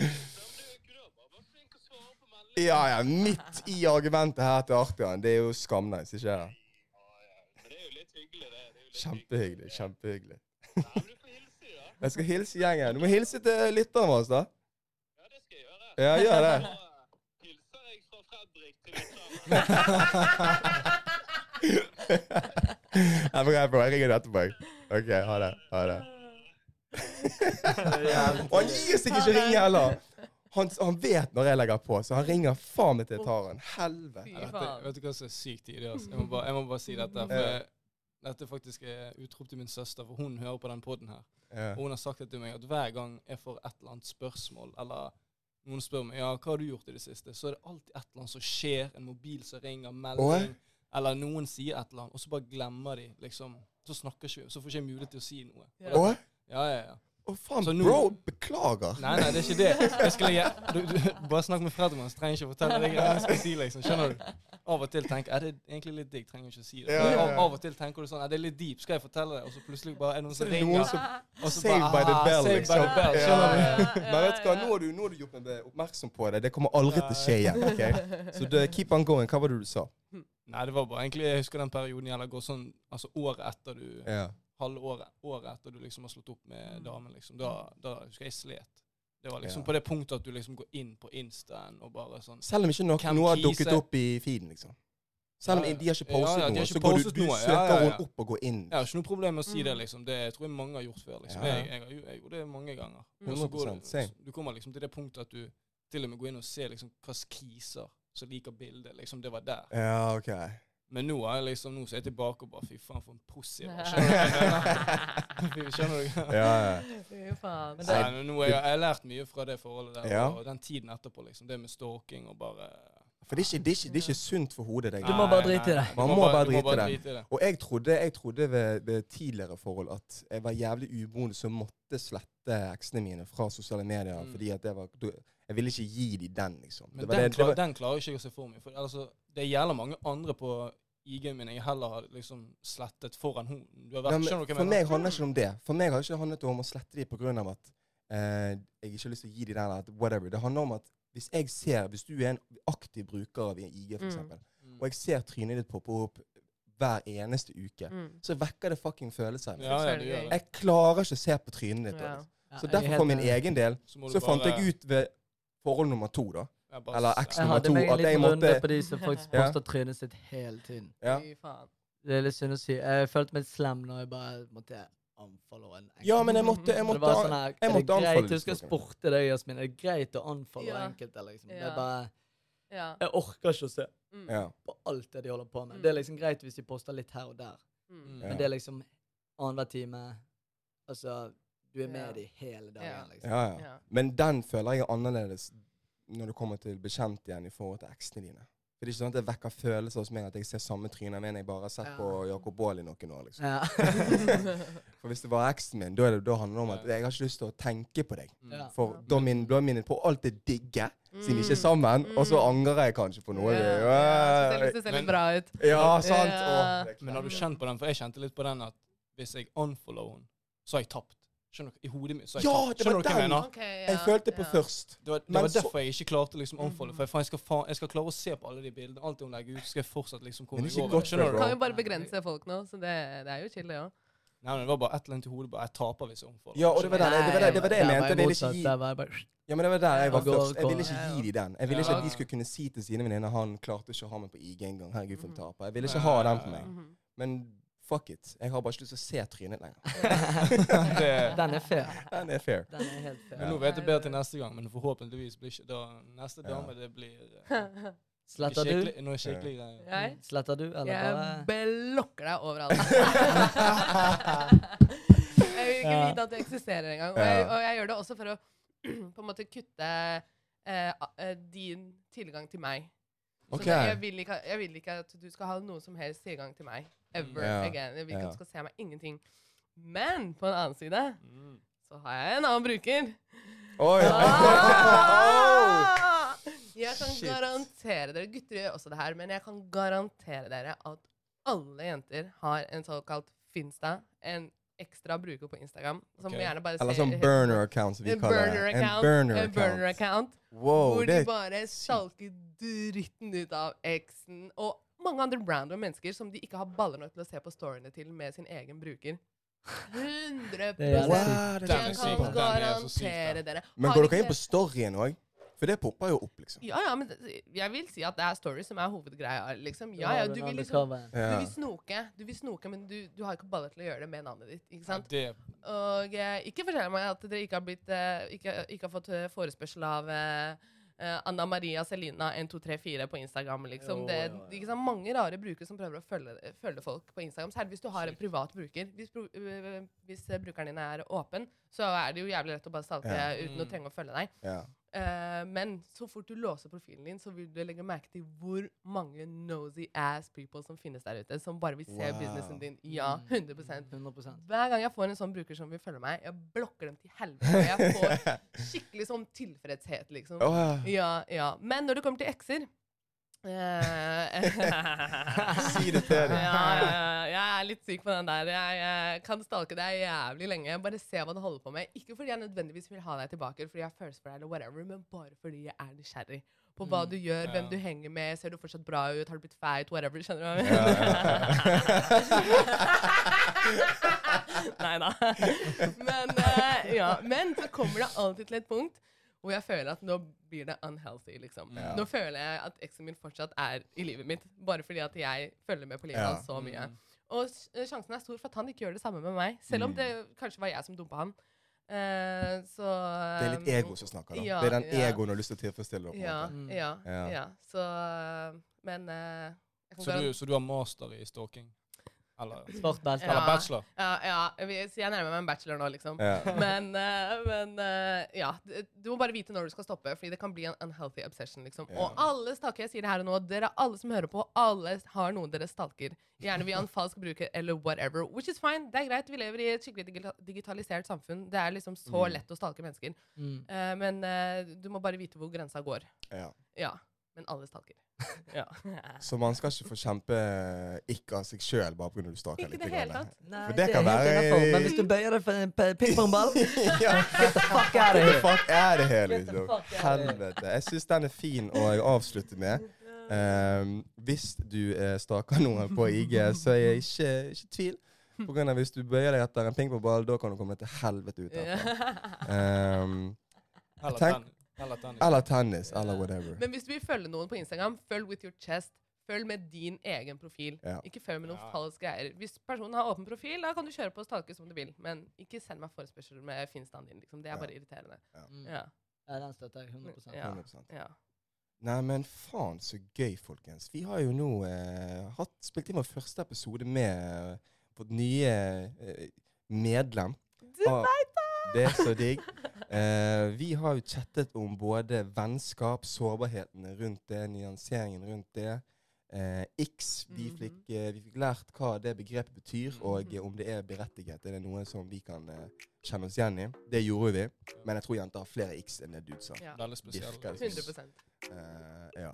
S2: Ja, ja. Midt i argumentet her til Artian. Det er jo skamnice, ikke sant? Kjempehyggelig. Kjempehyggelig. Jeg skal hilse gjengen. Du må hilse til lytteren vår, da. Ja, gjør det. Jeg får greie på Jeg ringer deg etterpå. jeg. OK, ha det. Ha det. Og han gir seg ikke å ringe heller. Han, han vet når jeg legger på, så han ringer faen meg til Taran. Helvete.
S4: Fy
S3: Dette,
S4: faen.
S3: vet du hva som er sykt tidlig? Altså? Jeg, må bare, jeg må bare si dette. For
S2: Ja.
S3: jeg, dette faktisk er utrop til min søster, for hun hører på den poden her.
S2: Ja.
S3: Og hun har sagt det til meg at hver gang jeg får et eller annet spørsmål, eller noen spør meg ja, hva har du gjort i det siste, så er det alltid et eller annet som skjer. En mobil som ringer, melding, eller noen sier et eller annet, og så bare glemmer de, liksom. Så snakker ikke vi, så får ikke jeg mulighet til å si noe.
S4: Ja.
S2: Å,
S3: Ja, ja, ja.
S2: å, faen,
S3: Så nå-
S2: bro, beklager.
S3: Nei, nei, det er ikke det. Jeg skal legge, du, du, bare snakk med Fredrik, han trenger ikke å fortelle deg hva jeg skal si. liksom, skjønner du? Av og til tenker jeg, er det egentlig litt digg, trenger ikke å si det.
S2: Ja,
S3: Men
S2: ja,
S3: Av,
S2: ja.
S3: av og til tenker du sånn, er det litt deep, skal jeg fortelle det? Og så plutselig bare er det noen
S2: Så
S3: som
S2: er det noen
S3: ringer.
S2: som
S3: Og så
S2: Saved by the
S3: ah,
S2: bell,
S3: saved by
S2: liksom.
S3: the bell,
S2: Ja.
S3: skjønner du?
S2: Men vet du hva, nå har du, nå har du gjort meg oppmerksom på det. Det kommer aldri til å skje igjen. ok? Så det, keep on going. Hva var det du sa?
S3: Nei, det var bare egentlig Jeg husker den perioden gjelder går sånn Altså året etter du
S2: Ja.
S3: Halve året, året etter du liksom har slått opp med
S4: Mm.
S3: damen, liksom. Da, da husker jeg slet. Det var liksom
S2: Ja.
S3: på det punktet at du liksom går inn på Instaen og bare sånn
S2: Selv om ikke noe,
S3: Hvem
S2: noe har
S3: teaser?
S2: dukket opp i feeden, liksom. Selv om
S3: Ja, ja.
S2: de har ikke
S3: Ja, ja,
S2: postet
S3: de har
S2: noe,
S3: ikke
S2: så går du,
S3: postet
S2: du
S3: noe. Ja,
S2: søker
S3: ja, ja.
S2: henne opp og går inn.
S3: Jeg har ikke noe problem med å si det,
S4: Mm.
S3: liksom. Det tror jeg mange har gjort før. liksom.
S2: Ja.
S3: Jeg, jeg, har jo- jeg gjorde det mange ganger. Og så går
S2: 100% same.
S3: du, du kommer liksom til det punktet at du til og med går inn og ser liksom hva slags kiser som liker bildet. Liksom, det var der.
S2: Ja, ok.
S3: Men nå er jeg liksom, nå så er jeg tilbake og bare fy faen, for en pussy. jeg var. Skjønner du? Skjønner du?
S2: Ja, ja.
S4: Fy faen.
S2: det-
S3: Nei, men nå har jeg, jeg har lært mye fra det forholdet der,
S2: Ja.
S3: og den tiden etterpå, liksom. Det med stalking og bare
S2: For det er ikke, det er ikke, det er ikke sunt for hodet. Det,
S1: Du
S2: greiene.
S1: må
S3: Nei,
S1: bare
S3: nei,
S1: drite i det.
S3: nei, du
S2: Man må bare
S3: du
S2: drite i det.
S3: i det.
S2: Og jeg trodde, jeg trodde ved, ved tidligere forhold at jeg var jævlig uboende som måtte slette eksene mine fra sosiale medier.
S3: Mm.
S2: fordi at jeg, var, du, jeg ville ikke gi dem den, liksom.
S3: Men
S2: Det
S3: den,
S2: var det- det
S3: klar,
S2: var-
S3: den klarer ikke jeg å se for meg. For altså, det gjelder mange andre på IG-en min jeg heller har liksom slettet foran hun. Du har
S2: Nei,
S3: vært,
S2: men
S3: skjønner du
S2: for
S3: hva jeg
S2: meg
S3: mener?
S2: handler ikke om det. For meg har det ikke handlet om å slette dem pga. at eh, jeg ikke har lyst til å gi dem den eller at whatever. Det handler om at hvis jeg ser, hvis du er en aktiv bruker av en IG, for
S4: Mm.
S2: eksempel,
S3: Mm.
S2: og jeg ser trynet ditt poppe opp hver eneste uke,
S4: Mm.
S2: så vekker det fucking følelser. i meg.
S3: ja, ja, det gjør det.
S2: Jeg klarer ikke å se på trynet ditt. da,
S4: Ja.
S2: liksom. Så derfor, for min egen del,
S3: må du
S2: så fant
S3: bare-
S2: jeg ut ved forhold nummer to, da.
S3: Ja, bare
S2: eller
S3: se.
S2: eksen.
S1: Jeg
S2: nummer
S1: hadde
S2: to,
S1: meg en
S2: at jeg
S1: liten runde
S2: måtte-
S1: på de som faktisk
S2: Ja.
S1: poster trynet sitt hele tiden.
S2: Ja.
S4: Fy faen.
S1: Det er litt synd å si. Jeg følte meg slem når jeg bare måtte anfalle en
S2: Ja, men jeg måtte, jeg
S1: Det
S2: måtte,
S1: var sånn her,
S2: jeg
S1: er det
S2: måtte anfalle
S1: greit, jeg husker jeg
S2: disse folkene.
S1: spurte deg, Jasmin, er det greit å anfalle
S4: Ja.
S1: enkelte, liksom? Det
S4: Ja.
S1: er bare,
S4: Ja.
S1: jeg orker ikke å se
S4: Mm.
S2: ja.
S1: på alt det de holder på med.
S4: Mm.
S1: Det er liksom greit hvis de poster litt her og der,
S4: Mm.
S2: Ja.
S1: men det er liksom annenhver time, altså, du er med
S4: Ja.
S1: de hele
S4: Ja.
S1: dagen, liksom.
S2: Ja, ja.
S4: Ja.
S2: Men den føler jeg er annerledes når du kommer til bekjent igjen i forhold til eksene dine. For det er ikke sånn at det vekker følelser hos meg at jeg ser samme tryne men jeg bare har sett
S1: Ja.
S2: på Jakob Baal i noen år. liksom.
S1: Ja.
S2: For hvis det var eksen min, da er det- da handler det om at jeg har ikke lyst til å tenke på deg.
S3: Mm.
S1: Ja.
S2: For da min, da er minnet på alt det digge, siden vi ikke er
S4: Mm.
S2: sammen, og så
S4: Mm.
S2: angrer jeg kanskje på noe.
S4: Ja, ja, jeg synes
S2: Ja,
S4: Det ser
S3: Men-
S4: litt bra ut.
S2: ja sant?
S4: Ja.
S2: Åh, det er
S3: Men har du
S2: klart.
S3: kjent på den? For jeg kjente litt på den at hvis jeg unfollower henne, så har jeg tapt. Skjønner du? I hodet mitt så har jeg
S2: Ja,
S3: tapt.
S2: det var
S3: Skjønner du hva jeg
S2: den!
S3: mener?
S4: Ok, ja.
S2: Jeg følte på
S4: ja.
S2: først.
S3: Det var, det
S2: Men
S3: var
S2: så- Mm.
S3: derfor jeg ikke klarte liksom unfollow. For jeg, faen, jeg, skal faen, jeg skal klare å se på alle de bildene. Alt det hun legger ut, skal jeg fortsatt liksom komme
S2: Men
S3: meg
S2: det er ikke
S3: over.
S2: godt
S3: Skjønner
S2: for
S3: du?
S2: bro.
S4: Kan jo bare begrense folk nå, så det, det er jo chill, det òg.
S3: Nei, men det var bare et eller annet i hodet. Bare jeg taper hvis jeg omfaller.
S2: Ja, og det var den- det var det- det var det
S1: Der
S2: jeg
S1: var
S2: mente. Jeg ville
S1: jeg
S2: ikke
S1: motsatt,
S2: gi
S1: der var jeg bare...
S2: Ja, men det var der jeg var
S1: Ja, går-
S2: først. Jeg ville
S4: går-
S2: ikke
S4: Ja,
S2: gi dem den. Jeg ville
S3: Ja.
S2: ikke at de skulle kunne si til sine venninner han klarte ikke å ha meg på IG engang. Herregud, for en
S4: Mhm.
S2: taper. Jeg ville ikke
S3: Ja,
S2: ha
S3: ja,
S2: den
S3: ja.
S2: for meg.
S4: Mhm.
S2: Men fuck it. Jeg har bare ikke lyst til å se trynet lenger.
S3: Det-
S1: Den er fair.
S2: Den er fair.
S1: Den er helt fair.
S3: Men nå vet jeg bedre til neste gang, men forhåpentligvis blir ikke da Neste
S2: Ja.
S3: dame, det blir eh,
S1: Sletter du?
S3: skikkelig- Noe skikkelig greier.
S4: Jeg,
S1: Sletter du, eller bare...
S4: jeg blokker deg overalt. jeg vil ikke
S1: Ja.
S4: vite at du eksisterer engang. Og,
S2: Ja.
S4: jeg- og jeg gjør det også for å på en måte kutte eh, a- eh, din tilgang til meg. Så
S2: Ok.
S4: det- jeg, vil ikke, jeg vil ikke at du skal ha noe som helst tilgang til meg. Ever
S2: Ja.
S4: again. Jeg vil ikke
S2: Ja.
S4: at du skal se meg. Ingenting. Men på en annen side
S3: Mm.
S4: så har jeg en annen bruker.
S2: Oi!
S4: Ah! Jeg kan
S2: Shit.
S4: garantere dere, gutter gjør også det her, men jeg kan garantere dere at alle jenter har en såkalt Finsta, en ekstra bruker på Instagram, som
S3: Ok.
S4: gjerne bare
S2: Eller
S4: ser-
S2: sånn burner account, som vi
S4: En
S2: kaller det.
S4: burner
S2: En
S4: account.
S2: burner
S4: en burner
S2: account.
S4: account
S2: Wow,
S4: hvor
S2: det
S4: de
S2: er
S4: bare salker dritten ut av eksen og mange andre random mennesker som de ikke har baller nok til å se på storyene til med sin egen bruker. 100
S1: Det er jævlig
S2: Wow,
S1: sykt.
S2: det
S3: Den
S2: er
S3: er
S4: Jeg
S3: syk,
S4: kan
S3: den er så syk, den.
S4: garantere dere.
S2: Men
S4: Har
S2: går
S4: ikke
S2: dere inn
S4: dere-
S2: på storyen òg? For det popper jo opp, liksom.
S4: Ja, ja, men det- jeg vil si at det er story som er hovedgreia, liksom. Ja, ja, du vil liksom
S1: undercoveren.
S4: du
S2: Ja.
S4: vil snoke, du vil snoke, men du, du har ikke baller til å gjøre det med navnet ditt. ikke sant?
S3: Det,
S4: Og eh, ikke fortell meg at dere ikke har, blitt, eh, ikke, ikke har fått eh, forespørsel av eh, eh, Anna Maria Selina 1234 på Instagram. liksom.
S1: Jo,
S4: det,
S1: jo, jo.
S4: Ikke sant? Mange rare brukere som prøver å følge, følge folk på Instagram. Særlig hvis du har en privat bruker. Hvis, bru- øh, hvis eh, brukeren din er åpen, så er det jo jævlig lett å bare stalke
S2: Ja.
S4: uten å
S3: Mm.
S4: trenge å følge deg.
S2: Ja.
S4: Eh, men så fort du låser profilen din, så vil du legge merke til hvor mange nosy ass people som finnes der ute, som bare vil se
S2: Wow.
S4: businessen din.
S1: Mm.
S4: Ja, 100
S1: 100
S4: hver gang jeg får en sånn bruker som vil følge meg, jeg blokker dem til helvete. og Jeg får skikkelig sånn tilfredshet, liksom.
S2: Åh,
S4: Ja, ja. Men når det kommer til ekser eh,
S2: Si det til dem.
S4: ja, ja, ja, jeg er litt syk på den der. Jeg, eh, kan stalke deg jævlig lenge. Bare se hva du holder på med. Ikke fordi jeg nødvendigvis vil ha deg tilbake, fordi jeg har følelser for deg, eller whatever, men bare fordi jeg er nysgjerrig på hva du gjør, hvem
S3: ja.
S4: du henger med, ser du fortsatt bra ut, har du blitt feit, whatever. Skjønner du hva jeg
S2: Ja,
S4: mener? Nei da. Men, eh, ja. men så kommer det alltid til et punkt hvor jeg føler at nå blir det unhealthy, liksom.
S2: Ja.
S4: Nå føler jeg at eksen min fortsatt er i livet mitt, bare fordi at jeg følger med på livet
S2: Ja.
S4: hans så mye.
S3: mm.
S4: Og s- eh, sjansen er stor for at han ikke gjør det samme med meg, selv
S2: Mm.
S4: om det kanskje var jeg som dumpa han. Eh, så
S2: Det er litt ego som snakker, da.
S4: ja,
S2: det er den
S4: ja.
S2: egoen du har lyst til å tilfredsstille. på en
S4: Ja,
S2: måte.
S3: Mm.
S1: måte.
S4: ja,
S2: Ja.
S4: ja. Så eh, Men eh, jeg kan
S3: så,
S4: garan-
S3: du, så du har master i stalking? Eller,
S1: Svart belte.
S3: eller
S4: Ja.
S3: bachelor?
S4: Ja, ja, jeg vil- så jeg nærmer meg en bachelor nå, liksom.
S2: Ja.
S4: Men, eh, men eh, ja, du, du må bare vite når du skal stoppe, fordi det kan bli en unhealthy obsession. liksom.
S2: Ja.
S4: Og alle stalker, jeg sier det her og nå, dere alle som hører på, alle har noen dere stalker. Gjerne via en falsk bruker eller whatever. Which is fine, det er greit, vi lever i et skikkelig digita- digitalisert samfunn. Det er liksom så
S2: Mm.
S4: lett å stalke mennesker.
S1: Mm.
S4: Eh, men eh, du må bare vite hvor grensa går.
S2: Ja.
S4: Ja, men alle stalker. Ja.
S2: Så man skal ikke få kjempe ikke av seg sjøl bare pga. du staker
S4: Ikke i
S2: litt.
S4: det
S2: grann.
S4: hele tatt.
S1: Nei,
S2: For det kan
S1: er helt
S2: være-
S1: innenfor, Men hvis du bøyer deg for en pe- pingpongball
S2: ja.
S1: Get the fuck out of
S2: What the
S1: here!
S2: fuck er det her,
S1: Get the
S2: liksom?
S1: fuck out of here.
S2: Helvete. Jeg syns den er fin å avslutte med. Ehm, hvis du eh, staker noen på IG, så er jeg ikke, ikke i tvil. På grunn av hvis du bøyer deg etter en pingpongball, da kan du komme deg til helvete ut herfra. Ehm,
S3: Eller
S2: Tenk-
S3: tenn- eller tennis?
S2: eller tennis, eller whatever.
S4: Men hvis du vil følge noen på Instagram, følg with your chest. Følg med din egen profil.
S2: Ja.
S4: Ikke følg med noen
S3: Ja.
S4: falske greier. Hvis personen har åpen profil, da kan du kjøre på og stalke som du vil. Men ikke send meg forespørsel med finstaden din. Liksom. Det
S2: Ja.
S4: er bare irriterende.
S1: Mm.
S4: Ja.
S1: Ja, den støtter jeg 100
S4: Ja.
S2: 100%.
S4: ja.
S2: Nei, men faen så gøy, folkens. Vi har jo nå eh, hatt, spilt inn vår første episode med eh, vårt nye eh, medlem.
S4: Du
S2: Ah, veit da! Det er så digg. Eh, vi har jo chattet om både vennskap, sårbarheten rundt det, nyanseringen rundt det. Eh, X, vi
S4: Mhm.
S2: fikk, eh, vi fikk lært hva det begrepet betyr, og eh,
S4: Mhm.
S2: om det er berettiget. Er det noe som vi kan eh, kjenne oss igjen i? Det gjorde vi, men jeg tror jenter har flere X enn det du sa.
S4: ja.
S3: Veldig spesiell.
S2: Virker det
S4: 100
S2: som. Eh, ja.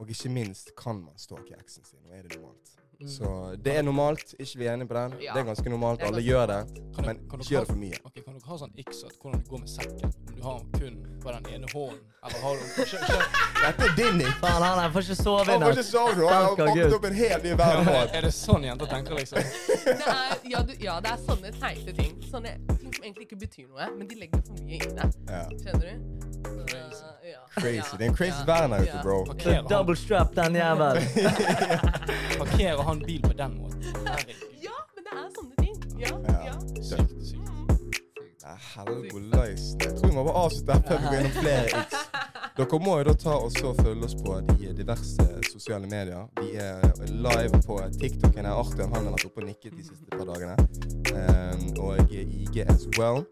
S2: Og ikke minst kan man stalke eksen sin, og er det normalt?
S1: Mm.
S2: Så det er normalt, ikke vi er enige på den.
S4: Ja.
S2: Det er ganske normalt,
S4: Det er
S2: alle
S4: ganske
S2: gjør det.
S3: Kan
S2: Men
S3: du- kan du
S2: ikke gjør det
S3: ha-
S2: for mye.
S3: Ok, Kan dere ha sånn X at hvordan det går med sekken? Om du har den kun på den ene hånden, eller har du skjø, skjø,
S2: Dette er din, Nick.
S1: Faen, han her får ikke sove i
S2: Han var
S1: natt.
S2: ikke sånn, du har
S1: Takk, Gud.
S2: våknet opp en hel ny verden.
S3: Er det sånn jenter tenker, liksom?
S4: Det er, ja, du, ja, det er sånne teite ting. Sånne ting som egentlig ikke betyr noe, men de legger for mye i det.
S2: Ja.
S4: Skjønner du? Så,
S3: Crazy.
S4: ja.
S2: Crazy.
S4: Ja.
S2: Det er en crazy
S4: Ja.
S2: verden her ute,
S4: Ja.
S2: bro.
S1: Så
S3: Parkerer han,
S1: double strap den jævelen.
S3: parkerer han bil på den måten? Herregud.
S4: Ja, men det er sånne ting. Ja,
S2: Ja.
S4: ja. Mm.
S2: Sykt. Nei, Helgoleis. Jeg tror vi må bare avslutte her før vi går gjennom flere X. Dere må jo da ta og så følge oss på de diverse sosiale medier. Vi er live på TikTok. her. Arthur han har vært oppe og nikket de siste par dagene. Ehm, og IG as well.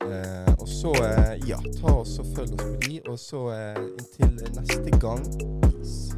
S2: Eh, og så, eh, ja, ta og så følg oss på de. Og så eh, inntil neste gang. Peace.